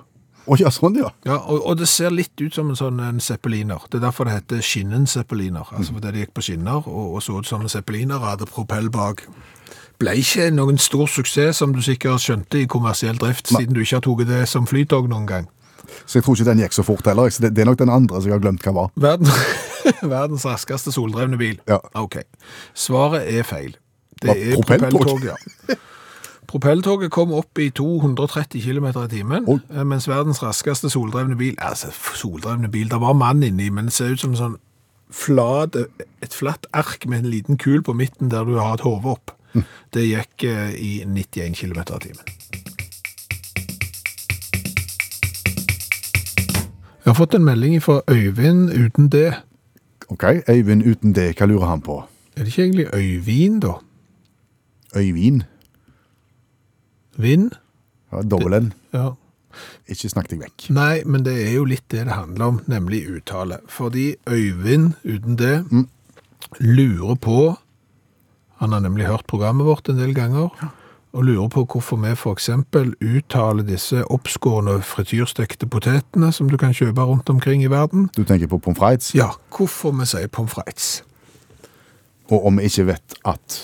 S3: Å, ja, sånn, ja.
S2: Ja, og, og det ser litt ut som en sånn en zeppeliner. Det er derfor det heter skinnen-zeppeliner. Altså fordi de gikk på skinner og, og så ut som en zeppeliner og hadde propell bak. Ble ikke noen stor suksess, som du sikkert skjønte, i kommersiell drift, siden du ikke har tatt det som flytog noen gang.
S3: Så jeg tror ikke den gikk så fort heller. Så det, det er nok den andre som jeg har glemt hva var.
S2: Verden, verdens raskeste soldrevne bil.
S3: Ja.
S2: Ok. Svaret er feil. Det
S3: Hva,
S2: er
S3: propelltog?
S2: propelltog, ja. Propelltoget kom opp i 230 km i timen,
S3: Oi.
S2: eh, mens verdens raskeste soldrevne bil Altså, f- soldrevne bil, det var mann inni, men det ser ut som en sånn flat, et flatt ark med en liten kul på midten der du har et hode opp. Det gikk eh, i 91 km i timen. Jeg har fått en melding fra Øyvind uten det.
S3: Ok, Øyvind uten det, hva lurer han på?
S2: Er det ikke egentlig Øyvind, da?
S3: Øyvind?
S2: Vind?
S3: Ja, Dobbel N.
S2: Ja.
S3: Ikke snakk deg vekk.
S2: Nei, men det er jo litt det det handler om, nemlig uttale. Fordi Øyvind, uten det, lurer på Han har nemlig hørt programmet vårt en del ganger. Og lurer på hvorfor vi f.eks. uttaler disse oppskårne frityrstekte potetene som du kan kjøpe rundt omkring i verden.
S3: Du tenker på pommes frites?
S2: Ja, hvorfor vi sier pommes frites.
S3: Og om vi ikke vet at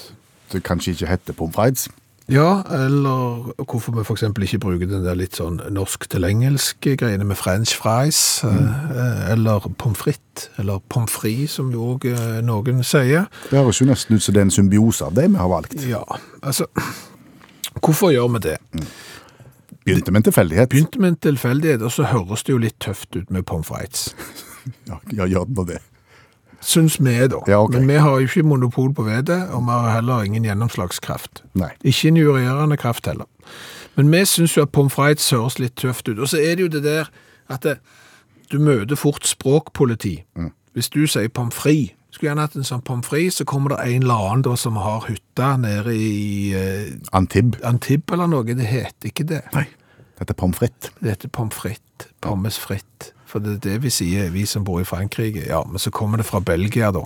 S3: det kanskje ikke heter pommes frites?
S2: Ja, eller hvorfor vi for eksempel ikke bruker den der litt sånn norsk til engelsk greiene med french fries,
S3: Mm.
S2: eh, eller pommes frites, eller pommes frites, som jo òg eh, noen sier.
S3: Det høres jo nesten ut som det er en symbiose av det vi har valgt.
S2: Ja, altså Hvorfor gjør vi det?
S3: Begynte med en tilfeldighet.
S2: Begynte med en tilfeldighet, og så høres det jo litt tøft ut med pommes frites.
S3: Ja, ja, gjør den nå det.
S2: Syns vi, da.
S3: Ja, ok.
S2: Men vi har jo ikke monopol på vedet, og vi har heller ingen gjennomslagskraft.
S3: Nei.
S2: Ikke en jurerende kraft heller. Men vi syns jo at pommes frites høres litt tøft ut. Og så er det jo det der at det, du møter fort språkpoliti. Hvis du sier pommes frites, skulle gjerne hatt en sånn pommes frites, så kommer det en eller annen da som har hytta nede i eh,
S3: Antib.
S2: Antibes eller noe. Det heter ikke det.
S3: Nei. Dette er pommes frites.
S2: Det heter pommes frites. Pommes frites. For det er det vi sier, vi som bor i Frankrike. Ja, men så kommer det fra Belgia, da.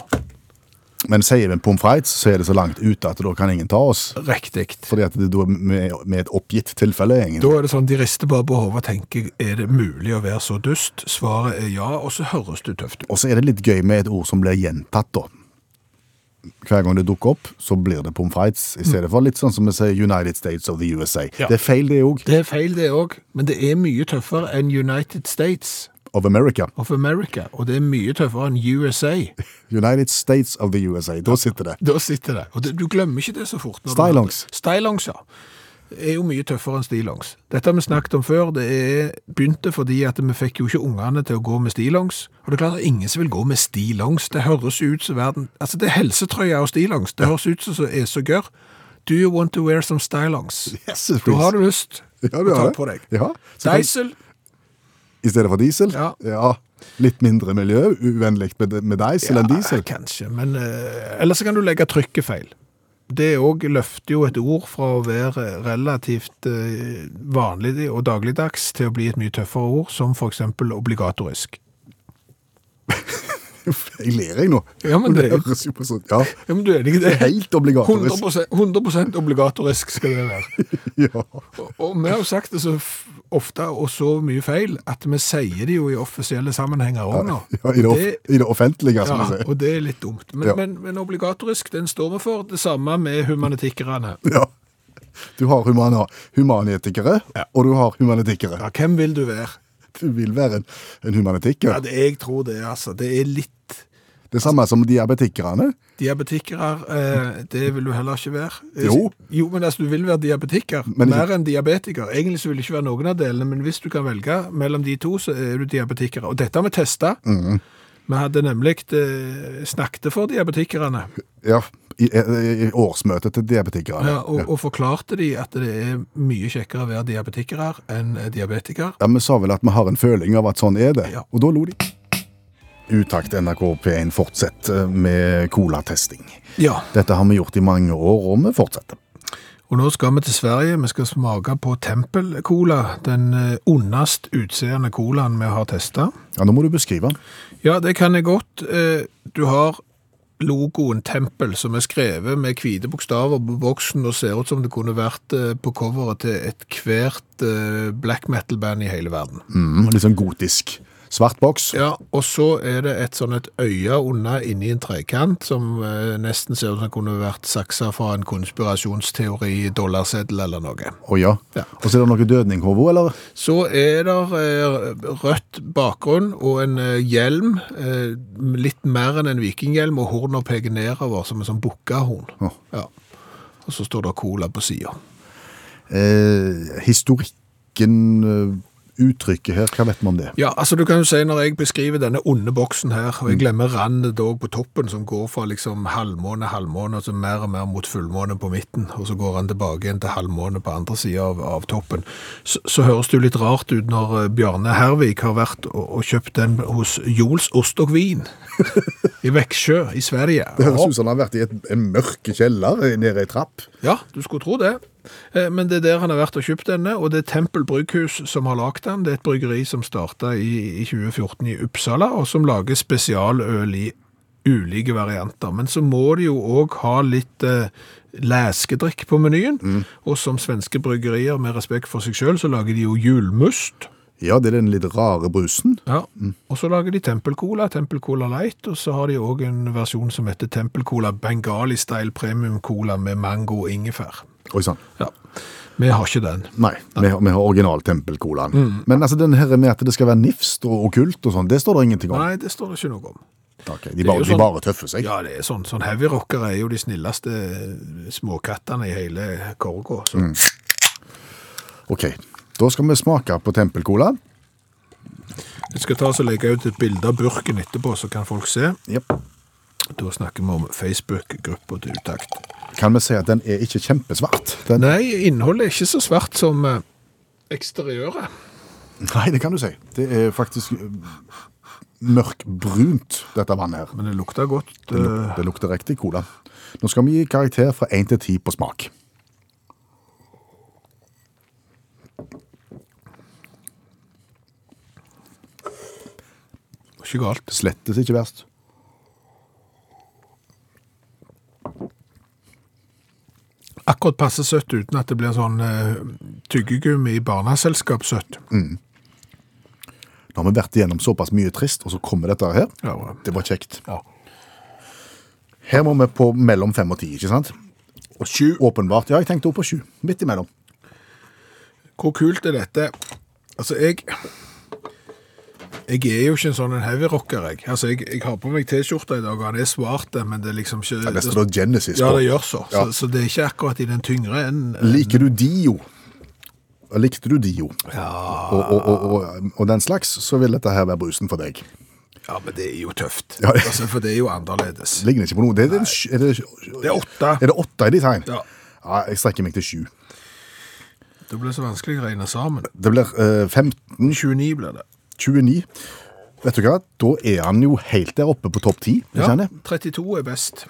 S3: Men sier vi pommes frites, så er det så langt ute at da kan ingen ta oss.
S2: Riktig.
S3: Fordi at det da er med, med et oppgitt tilfelle, egentlig.
S2: Da er det sånn, de rister bare på hodet og tenker, er det mulig å være så dust? Svaret er ja, og så høres det tøft ut.
S3: Og så er det litt gøy med et ord som blir gjentatt, da. Hver gang det dukker opp, så blir det pommes frites.
S2: Mm.
S3: I stedet for litt sånn som vi sier United States of the USA. Det er feil, det òg.
S2: Det er feil det òg, men det er mye tøffere enn United States
S3: Of America.
S2: of America, og det er mye tøffere enn USA.
S3: United States of the USA. Da sitter det.
S2: Da sitter det. Og det, du glemmer ikke det så fort. når du-
S3: Stylongs.
S2: Stylongs, ja. Er jo mye tøffere enn stillongs. Dette har vi snakket om før. Det er begynte fordi at vi fikk jo ikke ungene til å gå med stillongs. Og det er klart at ingen som vil gå med stillongs. Det høres ut som verden Altså, det er helsetrøya og stillongs. Det høres ut som så er så gørr. Do you want to wear some stylongs?
S3: Yes, it
S2: Da
S3: is.
S2: har du lyst
S3: Ja, du
S2: å ta
S3: har det.
S2: på deg.
S3: Ja. Så kan-
S2: Diesel.
S3: I stedet for diesel?
S2: Ja.
S3: Litt mindre miljøuvennlig med, med diesel enn diesel?
S2: Kanskje, men eh, Eller så kan du legge trykket feil. Det òg løfter jo et ord fra å være relativt eh, vanlig og dagligdags til å bli et mye tøffere ord, som f.eks. obligatorisk.
S3: Jeg ler jeg nå.
S2: Ja, men det er jo-
S3: høres jo på sånn Ja,
S2: Ja, men du er enig i det?
S3: helt obligatorisk.
S2: 100, 100 obligatorisk skal det være.
S3: Ja.
S2: Og, og vi har jo sagt det så f- ofte og så mye feil at vi sier det jo i offisielle sammenhenger òg nå.
S3: ja i, det, off-
S2: Det-
S3: I det offentlige, som vi
S2: Ja,
S3: sier.
S2: og det er litt dumt. Men,
S3: Ja.
S2: men, men obligatorisk, den står vi for. Det samme med humanitikkerne.
S3: Ja. Du har humana, humanitikere, og du har humanitikere.
S2: Ja, hvem vil du være?
S3: Du vil være en, en humanitiker.
S2: Ja, det, jeg tror det, altså. Det er litt
S3: det samme som diabetikerne.
S2: Diabetikere, eh, det vil du heller ikke være. Eh,
S3: Jo.
S2: Jo, men altså, du vil være diabetiker.
S3: Men ikke-
S2: Mer enn diabetiker. Egentlig så vil det ikke være noen av delene, men hvis du kan velge mellom de to, så er du diabetiker. Og dette har vi testa. Vi hadde nemlig eh, snakket for diabetikerne,
S3: Ja, i, i, i årsmøtet til diabetikerne.
S2: ja, og, og forklarte de at det er mye kjekkere å være diabetikere enn eh, diabetiker.
S3: Ja, Vi sa vel at vi har en føling av at sånn er det,
S2: Ja.
S3: og da lo de. Utakt NRK P1 fortsetter eh, med colatesting.
S2: Ja.
S3: Dette har vi gjort i mange år, og vi fortsetter.
S2: Og nå skal vi til Sverige. Vi skal smake på Tempel Cola, den eh, ondest utseende colaen vi har testa.
S3: Ja, Nå må du beskrive den.
S2: Ja, det kan jeg godt. Eh, Du har logoen Tempel, som er skrevet med hvite bokstaver på boksen og ser ut som det kunne vært eh, på coveret til ethvert eh, black metal-band i hele verden.
S3: Mm, litt sånn gotisk. Svart boks.
S2: Ja, og så er det et sånn et øye unna inni en trekant, som eh, nesten ser ut som det kunne vært saksa fra en konspirasjonsteori, dollarseddel eller noe.
S3: Å ja.
S2: Ja.
S3: Og så er det noe dødninghode, eller?
S2: Så er det eh, rødt bakgrunn og en eh, hjelm, eh, litt mer enn en vikinghjelm, og horna peker nedover som en sånn bukkahorn.
S3: Å.
S2: Ja. Og så står det cola på sida.
S3: Eh, historikken, eh, uttrykket her, hva vet man om det?
S2: Ja, altså du kan jo si når jeg beskriver denne onde boksen her, og jeg glemmer randet dog på toppen, som går fra liksom halvmåne, halvmåne, og så mer og mer mot fullmåne på midten, og så går han tilbake igjen til halvmåne på andre siden av, av toppen, så, så høres det jo litt rart ut når eh, Bjarne Hervik har vært og, og kjøpt den hos Jols Ost og Vin i Veksjø i Sverige.
S3: Det høres ut som han har vært i et, en mørk kjeller eh, nede i trapp.
S2: Ja, du skulle tro det. Eh, Men det er der han har vært og kjøpt denne, og det er Tempel Brygghus som har lagd den. Det er et bryggeri som starta i, i 2014 i Uppsala, og som lager spesialøl i ulike varianter. Men så må de jo òg ha litt eh, leskedrikk på menyen. Og som svenske bryggerier, med respekt for seg sjøl, så lager de jo julmust.
S3: Ja, det er den litt rare brusen.
S2: Ja. Og så lager de Tempelcola, Tempelcola Light, og så har de òg en versjon som heter Tempelcola Bengali Style Premium Cola med mango og ingefær.
S3: Oi sånn. sann.
S2: Ja. Vi har ikke den.
S3: Nei, vi har, vi har originaltempelcolaen.
S2: Mm.
S3: Men altså, den her med at det skal være nifst og okkult og sånn, det står det ingenting om.
S2: Nei, det står det ikke noe om.
S3: Ok, de,
S2: er jo
S3: bare, de
S2: sånn-
S3: bare tøffer seg.
S2: Ja, det er sånn. Sånn heavyrockere er jo de snilleste eh, småkattene i hele korga. Så.
S3: Mm. Ok, da skal vi smake på tempelcola.
S2: Jeg skal ta oss og legge ut et bilde av burken etterpå, så kan folk se.
S3: Jep.
S2: Da snakker vi om Facebook-gruppa til utakt.
S3: Kan vi si at den er ikke kjempesvart? Den,
S2: Nei, innholdet er ikke så svart som eh, eksteriøret.
S3: nei, det kan du si. Det er faktisk eh, mørkbrunt, dette vannet her.
S2: Men det lukter godt. eh,
S3: Det, luk, det lukter riktig cola. Nå skal vi gi karakter fra 1 til 10 på smak.
S2: Eh, Ikke galt.
S3: Slettes ikke verst.
S2: Akkurat passe søtt uten at det blir sånn uh, tyggegummi i barneselskapssøtt.
S3: Mm. Nå har vi vært igjennom såpass mye trist, og så kommer dette her.
S2: Ja, bra.
S3: Det var kjekt.
S2: Ja.
S3: Her må vi på mellom fem og ti, ikke sant? Og sju, åpenbart. Ja, jeg tenkte også på sju. Midt imellom.
S2: Hvor kult er dette? Altså, jeg Jeg er jo ikke en sånn en heavyrocker, jeg. Altså, jeg, jeg har på meg T-skjorta i dag, og han er svart, men det er liksom ikke
S3: Der står det Genesis
S2: Ja,
S3: på.
S2: det gjør så.
S3: Ja.
S2: så. Så det er ikke akkurat i den tyngre enden.
S3: Liker du Dio? Likte du Dio? Og, og, og, og, og den slags, så vil dette her være brusen for deg.
S2: Ja, men det er jo tøft.
S3: Ja, det-
S2: Altså, for det er jo annerledes.
S3: Ligner ikke på noe. Det er, en sj- er, det,
S2: Det er åtte.
S3: er det åtte i design?
S2: Ja.
S3: Ja, jeg strekker meg til sju.
S2: Det blir så vanskelig å regne sammen.
S3: Det blir eh, 15,
S2: 29 blir det.
S3: 29. Vet du hva? Da er han jo helt der oppe på topp 10.
S2: Ja,
S3: Ja.
S2: 32 er best.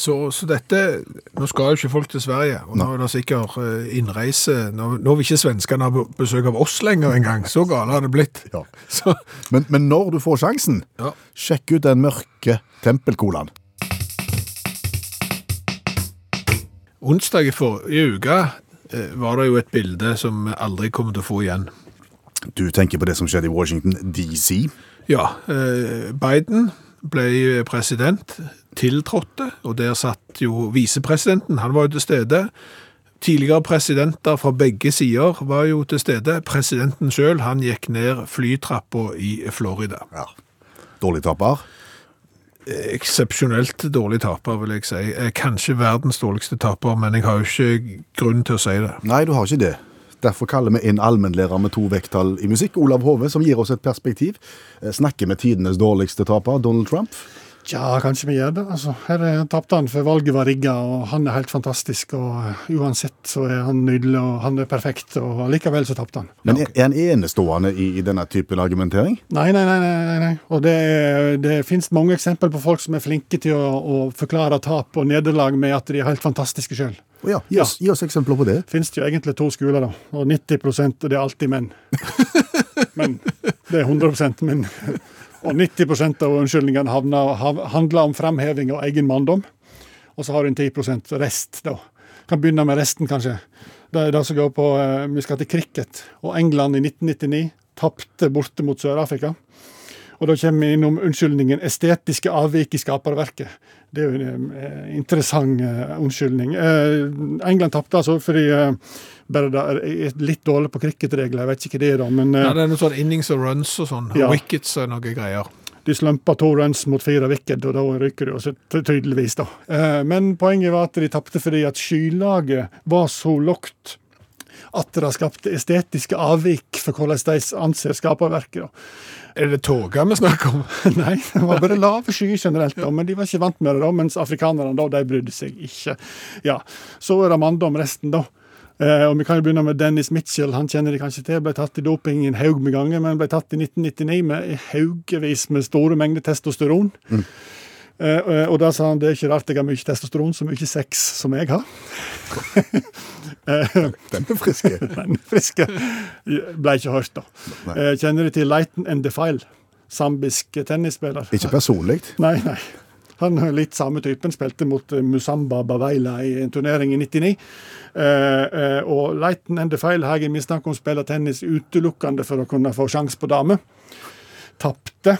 S2: Så, så dette Nå skal jo ikke folk til Sverige, og nå er det sikkert eh, innreise Nå, nå vil ikke svenskene ha be- besøk av oss lenger engang. Så gale har det blitt.
S3: Ja.
S2: Så,
S3: Men, men når du får sjansen,
S2: Ja.
S3: sjekk ut den mørke tempelcolaen.
S2: onsdag i forrige uke eh, var det jo et bilde som vi aldri kommer til å få igjen.
S3: Du tenker på det som skjedde i Washington DC.
S2: Ja, eh, Biden ble president, tiltrådte, og der satt jo visepresidenten, han var jo til stede. Tidligere presidenter fra begge sider var jo til stede. Presidenten selv, han gikk ned flytrappa i Florida.
S3: Dårlig taper.
S2: Eksepsjonelt dårlig taper, vil jeg si. Eh, Kanskje verdens dårligste taper, men jeg har jo ikke grunn til å si det.
S3: Nei, du har ikke det. Derfor kaller vi inn allmennlærer med to vekttall i musikk, Olav Hove, som gir oss et perspektiv. Eh, Snakker med tidenes dårligste taper, Donald Trump.
S5: Tja, kanskje vi gjør det. Altså, her er- tapte han, for valget var rigga, og han er helt fantastisk. Og eh, uansett så er han nydelig, og han er perfekt, og likevel så tapte han.
S3: Men er- er han enestående i, i denne typen argumentering?
S5: Nei, nei, nei. nei, nei, nei. Og det, er- det finnes mange eksempler på folk som er flinke til å, å forklare tap og nederlag med at de er helt fantastiske sjøl.
S3: Å ja, gi oss, gi oss eksempler på det.
S5: Fins det jo egentlig to skoler, da. Og 90 og det er alltid menn. Men det er 100 menn. Og 90 av unnskyldningene havna- hav- handler om fremheving av egen manndom. Og så har du en 10 rest, da. Kan begynne med resten, kanskje. Det er det som går på eh, Vi skal til cricket. Og England i 1999 tapte borte mot Sør-Afrika. Og da kommer vi innom unnskyldningen 'estetiske avvik i skaperverket'. Det er jo en eh, interessant eh, unnskyldning. Eh, England tapte altså fordi eh, bare det er litt dårlig på cricketregler, jeg vet ikke hva det er, da. Men eh,
S2: Ja, det er noe sånn innings og runs og sånn.
S5: Ja.
S2: Wickets og noe greier.
S5: de slumpa to runs mot fire wicket, og da ryker de også, ty- tydeligvis. da. Eh, Men poenget var at de tapte fordi at skylaget var så lågt at det skapte estetiske avvik for hvordan de anser skaperverket. da.
S2: Er det tåke vi snakker om?
S5: Nei, det var bare lave skyer generelt, da, men de var ikke vant med det, da, mens afrikanerne da, de brydde seg ikke. Ja, Så er det manndom resten, da. Eh, og Vi kan jo begynne med Dennis Mitchell. Han kjenner de kanskje til. Ble tatt i doping en haug med ganger, men ble tatt i 1999 med haugevis med store mengder testosteron. Eh, eh, og da sa han det er ikke rart jeg har mye testosteron, så mye sex som jeg har.
S3: Den er friske.
S5: Den friske ble ikke hørt, da.
S3: Nei.
S5: Eh, kjenner de til Lighten and Defile? Zambisk tennisspiller.
S3: Ikke personlig.
S5: Nei, nei. Han er litt samme typen. Spilte mot eh, Musamba Baveila i en turnering i 99. Eh, eh, og Leiten Ende Feilhagen mistanke om å spille tennis utelukkende for å kunne få sjanse på dame. Tapte.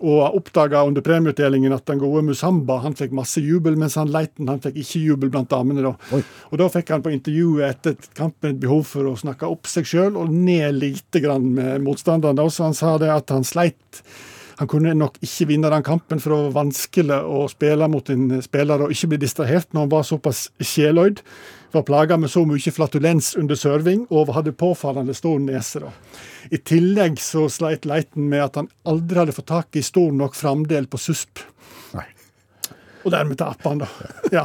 S5: Og oppdaga under premieutdelingen at den gode Musamba han fikk masse jubel, mens han Leiten han fikk ikke jubel blant damene. da.
S3: Oi.
S5: Og da fikk han på intervjuet etter kampen et behov for å snakke opp seg sjøl og ned lite grann med motstanderen. da. Så han sa det at han sleit han kunne nok ikke vinne den kampen, for det var vanskelig å spille mot en spiller og ikke bli distrahert når han var såpass sjeløyd. Var plaga med så mye flatulens under serving og hadde påfallende stor nese. da. I tillegg så sleit Leiten med at han aldri hadde fått tak i stor nok framdel på susp.
S3: Nei.
S5: Og dermed taper han, da. Ja.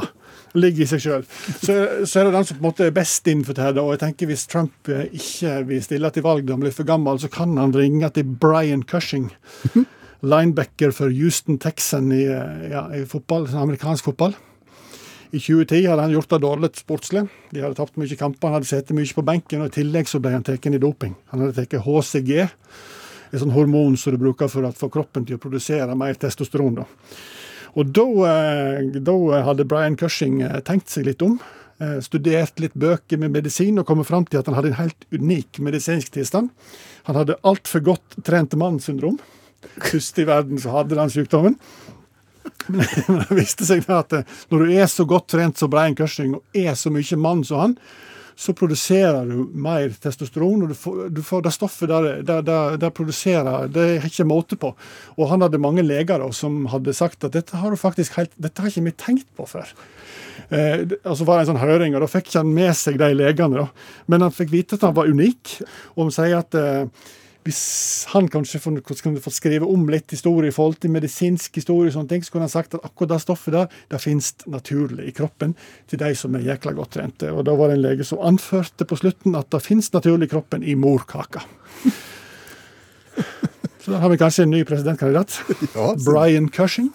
S5: Ligger i seg sjøl. Så, så er det den som på en måte er best innenfor det her. da, og jeg tenker Hvis Trump eh, ikke vil stille til valg da han blir for gammel, så kan han ringe til Brian Cushing. Linebacker for Houston Texan i, eh, ja, i fotball, amerikansk fotball. I 2010 hadde han gjort det dårlig sportslig. De hadde tapt mye kamper, han hadde sittet mye på benken, og i tillegg så ble han tatt i doping. Han hadde tatt HCG, et sånt hormon som du bruker for å få kroppen til å produsere mer testosteron. da. Og da, eh, da hadde Brian Cushing eh, tenkt seg litt om. eh, Studert litt bøker med medisin og kommet fram til at han hadde en helt unik medisinsk tilstand. Han hadde altfor godt trent mann-syndrom. Først i verden så hadde han sykdommen. Men det viste seg da at eh, når du er så godt trent som Brian Cushing, og er så mye mann som han, så produserer du mer testosteron, og du får, du får det stoffet der, der, der, der produserer Det er ikke måte på. Og han hadde mange leger da, som hadde sagt at dette har du faktisk helt, dette har ikke vi tenkt på før. Eh, det- og så var det en sånn høring, og da fikk ikke han med seg de legene. da. Men han fikk vite at han var unik, og han sier at eh, hvis han kanskje får- kunne fått skrive om litt historie i forhold til medisinsk historie, og sånne ting, så kunne han sagt at akkurat det stoffet der det finnes naturlig i kroppen til de som er jækla godt trente. Og da var det en lege som anførte på slutten at det finnes naturlig i kroppen i morkaka. Så der har vi kanskje en ny presidentkandidat.
S3: Ja,
S5: Brian Cushing.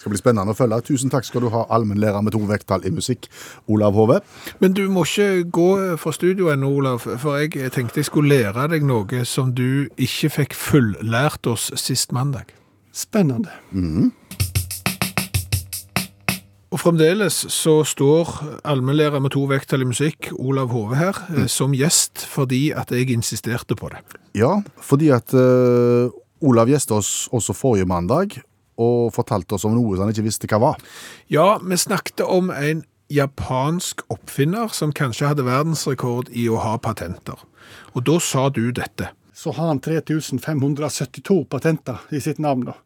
S3: Det skal bli spennende å følge. Tusen takk skal du ha, allmennlærer med to vekttall i musikk, Olav Hove.
S2: Men du må ikke gå fra studio ennå, Olav, for jeg tenkte jeg skulle lære deg noe som du ikke fikk fulllært oss sist mandag.
S5: Spennende.
S2: Og fremdeles så står allmennlærer med to vekttall i musikk, Olav Hove her, eh, som gjest fordi at jeg insisterte på det.
S3: Ja, fordi at eh, Olav gjestet oss også forrige mandag og fortalte oss om noe som han ikke visste hva var.
S2: Ja, vi snakket om en japansk oppfinner som kanskje hadde verdensrekord i å ha patenter. Og da sa du dette.
S5: Så har han 3572 patenter i sitt navn. da.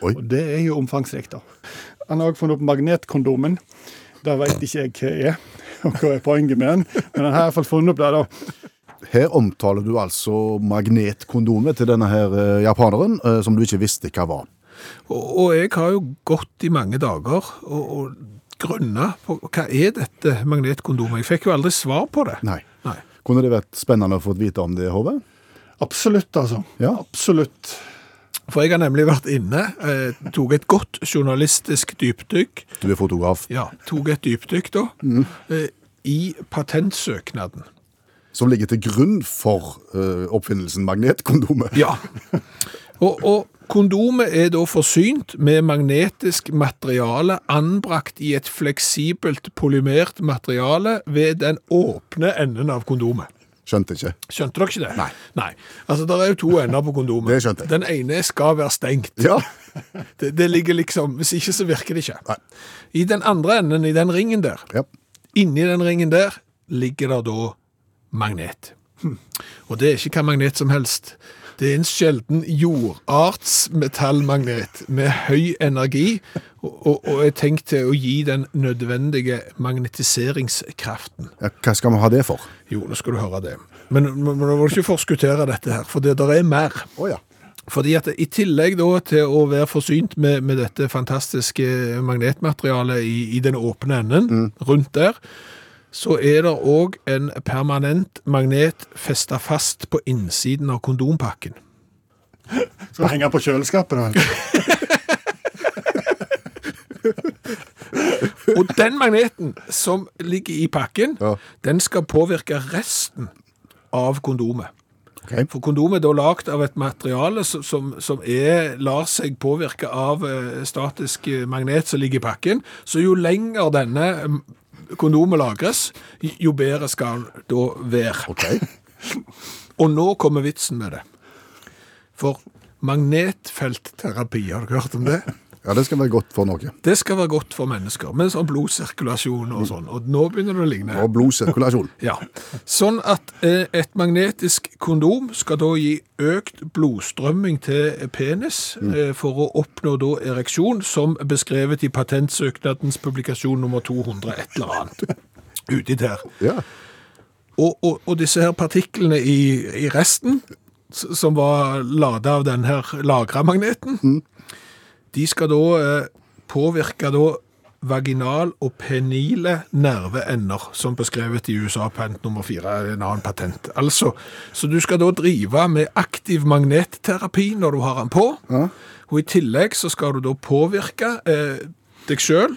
S3: Oi.
S5: Og det er jo omfangsrikt. da. Han har òg funnet opp magnetkondomen. Det veit ikke jeg hva er, og hva er poenget med den, men han har iallfall funnet opp det. da.
S3: Her omtaler du altså magnetkondomet til denne her eh, japaneren, eh, som du ikke visste hva var.
S2: Og, og jeg har jo gått i mange dager og, og grunna på hva er dette magnetkondomet. Jeg fikk jo aldri svar på det.
S3: Nei.
S2: Nei.
S3: Kunne det vært spennende å få vite om det, Hove?
S5: Absolutt, altså.
S3: Ja.
S5: Absolutt.
S2: For jeg har nemlig vært inne, eh, tok et godt journalistisk dypdykk,
S3: Du er fotograf,
S2: ja, tok et dypdykk da, eh, i patentsøknaden.
S3: som ligger til grunn for eh, oppfinnelsen magnetkondomet.
S2: Ja. Og, og Kondomet er da forsynt med magnetisk materiale anbrakt i et fleksibelt polymert materiale ved den åpne enden av kondomet.
S3: Skjønte ikke.
S2: Skjønte dere ikke det? Nei. Altså, Det er jo to ender på kondomet.
S3: Det skjønte jeg.
S2: Den ene skal være stengt.
S3: Ja,
S2: Det, det ligger liksom, Hvis ikke, så virker det ikke.
S3: Nei.
S2: I den andre enden, i den ringen der,
S3: ja.
S2: inni den ringen der, ligger det da magnet. Og det er ikke hva magnet som helst. Det er en sjelden jordartsmetallmagnet med høy energi, og, og, og er tenkt til å gi den nødvendige magnetiseringskraften.
S3: ja hva skal vi ha det for?
S2: Jo, nå skal du høre det. Men, men nå må du ikke forskuttere dette her, for det der er mer.
S3: Å ja.
S2: Fordi at i tillegg da til å være forsynt med, med dette fantastiske magnetmaterialet i, i den åpne enden, rundt der, så er det òg en permanent magnet festa fast på innsiden av kondompakken.
S5: Skal henge på kjøleskapet? da?
S2: Og den magneten som ligger i pakken,
S3: Ja.
S2: den skal påvirke resten av kondomet.
S3: Ok.
S2: For kondomet er da lagd av et materiale som, som, som er, lar seg påvirke av eh, statisk eh, magnet som ligger i pakken. Så jo lenger denne mm, kondomet lagres, j- jo bedre skal den da være.
S3: Ok.
S2: Og nå kommer vitsen med det. For magnetfeltterapi, har dere hørt om det?
S3: Ja, det skal være godt for noe.
S2: Det skal være godt for mennesker, med sånn blodsirkulasjon og sånn. Og nå begynner det å ligne.
S3: Og blodsirkulasjon.
S2: Ja. Sånn at eh, et magnetisk kondom skal da gi økt blodstrømming til penis eh, for å oppnå da ereksjon, som beskrevet i patentsøknadens publikasjon nummer 200, et eller annet. Uti der.
S3: Ja.
S2: Og, og, og disse her partiklene i, i resten, s- som var lada av den her lagra magneten, de skal da eh, påvirke da vaginal og penile nerveender, som beskrevet i USA patent nummer 4, en annen patent. Altså, så du skal da drive med aktiv magnetterapi når du har den på, og i tillegg så skal du da påvirke eh, deg selv,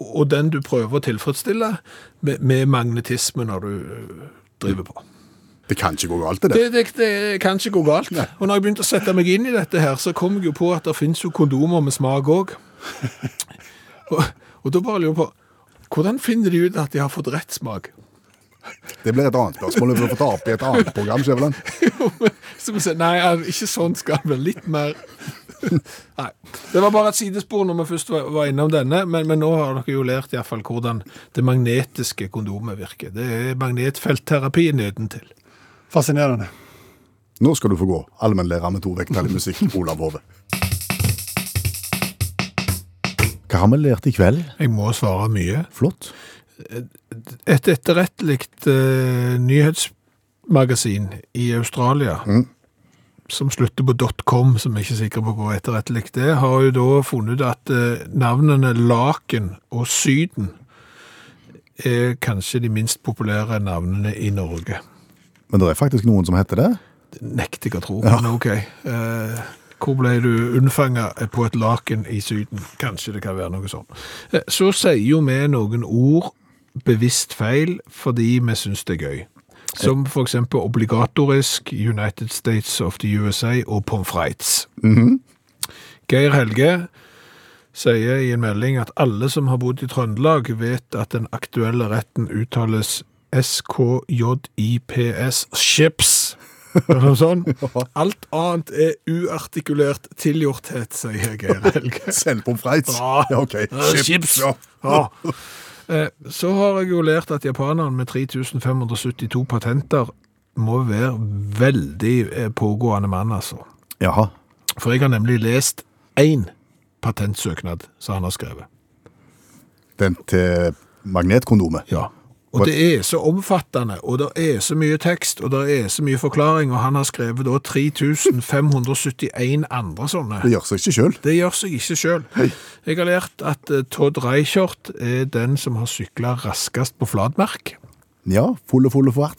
S2: og den du prøver å tilfredsstille, med, med magnetisme når du eh, driver på.
S3: Det kan ikke gå galt, det der.
S2: Det, det, det kan ikke gå galt. Og når jeg begynte å sette meg inn i dette her, så kom jeg jo på at det finnes jo kondomer med smak òg. Og, og da bare lurer jeg på Hvordan finner de ut at de har fått rett smak?
S3: Det blir et annet spørsmål vi får ta opp i et annet program. Skjæveland.
S2: Så vi sier, Nei, altså, ikke sånn skal det være. Litt mer Nei. Det var bare et sidespor når vi først var, var innom denne, men, men nå har dere jo lært i hvert fall hvordan det magnetiske kondomet virker. Det er magnetfeltterapi nedentil.
S5: Fascinerende.
S3: Nå skal du få gå, allmennlærer med to vekttall i musikk, Olav Hove. Hva har vi lært i kveld?
S2: Jeg må svare mye.
S3: Flott.
S2: et etterrettelig eh, nyhetsmagasin i Australia, som slutter på .com, som jeg ikke er sikker på hvor etterrettelig det, er, har jo da funnet ut at eh, navnene Laken og Syden er kanskje de minst populære navnene i Norge.
S3: Men det er faktisk noen som heter det.
S2: Det nekter jeg å tro, men ok. Eh, hvor ble du unnfanget på et laken i syden? Kanskje det kan være noe sånn. Eh, så sier jo vi noen ord bevisst feil fordi vi synes det er gøy. Som for eksempel obligatorisk, United States of the USA og pommes frites. Geir Helge sier i en melding at alle som har bodd i Trøndelag vet at den aktuelle retten uttales SKJIPS, chips. Eller noe sånt. Alt annet er uartikulert tilgjorthet, sier Geir Helge.
S3: Selv pommes frites.
S2: Ja.
S3: Ja, ok.
S2: Ja, Eh, chips.
S3: Ja.
S2: Ja. Eh, Så har jeg jo lært at japaneren med 3572 patenter må være veldig eh, pågående mann, altså.
S3: Jaha.
S2: For jeg har nemlig lest én patentsøknad som han har skrevet.
S3: Den til magnetkondomet.
S2: Ja. Og det er så omfattende, og det er så mye tekst, og det er så mye forklaring, og han har skrevet da 3571 andre sånne.
S3: Det gjør seg ikke sjøl.
S2: Det gjør seg ikke sjøl. Jeg har lært at eh, Todd Reichert er den som har sykla raskest på flatmark.
S3: Ja, fulle, fulle for hvert.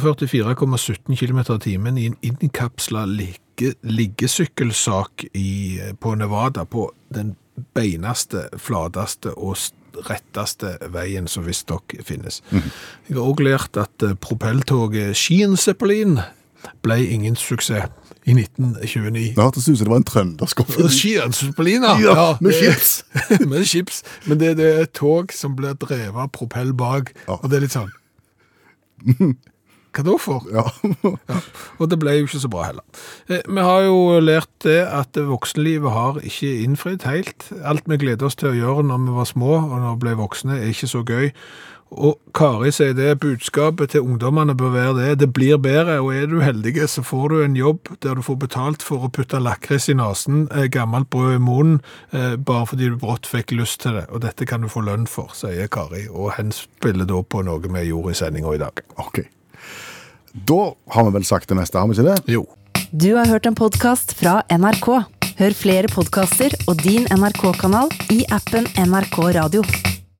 S2: 144,17 km i timen i en innkapsla ligge, liggesykkelsak i, på Nevada, på den beinaste, flateste og s- retteste veien som visstnok finnes.
S3: Mhm.
S2: Jeg har også lært at eh, propelltoget Skien Zeppelin ble ingen suksess. i 1929.
S3: Det hørtes ut som det var en trøndersk
S2: Og
S3: oppfinning.
S2: Skiønsplina!
S3: Ja, med
S2: det-
S3: chips.
S2: med chips. Men det, det er et tog som blir drevet av propell bak,
S3: Ja.
S2: og det er litt sånn Hva da for?
S3: Ja.
S2: Ja, og det ble jo ikke så bra heller. Eh, Vi har jo lært det at voksenlivet har ikke innfridd helt. Alt vi gleder oss til å gjøre når vi var små og når vi ble voksne, er ikke så gøy. Og Kari sier det, budskapet til ungdommene bør være det. Det blir bedre, og er du heldig, så får du en jobb der du får betalt for å putte lakris i nesen, eh, gammelt brød i munnen, eh, bare fordi du brått fikk lyst til det. Og dette kan du få lønn for, sier Kari, og henspiller da på noe vi gjorde i sendinga i dag.
S3: Ok. Da har vi vel sagt det meste, har vi ikke det?
S2: Jo.
S1: Du har hørt en podkast fra NRK. Hør flere podkaster og din NRK-kanal i appen NRK Radio.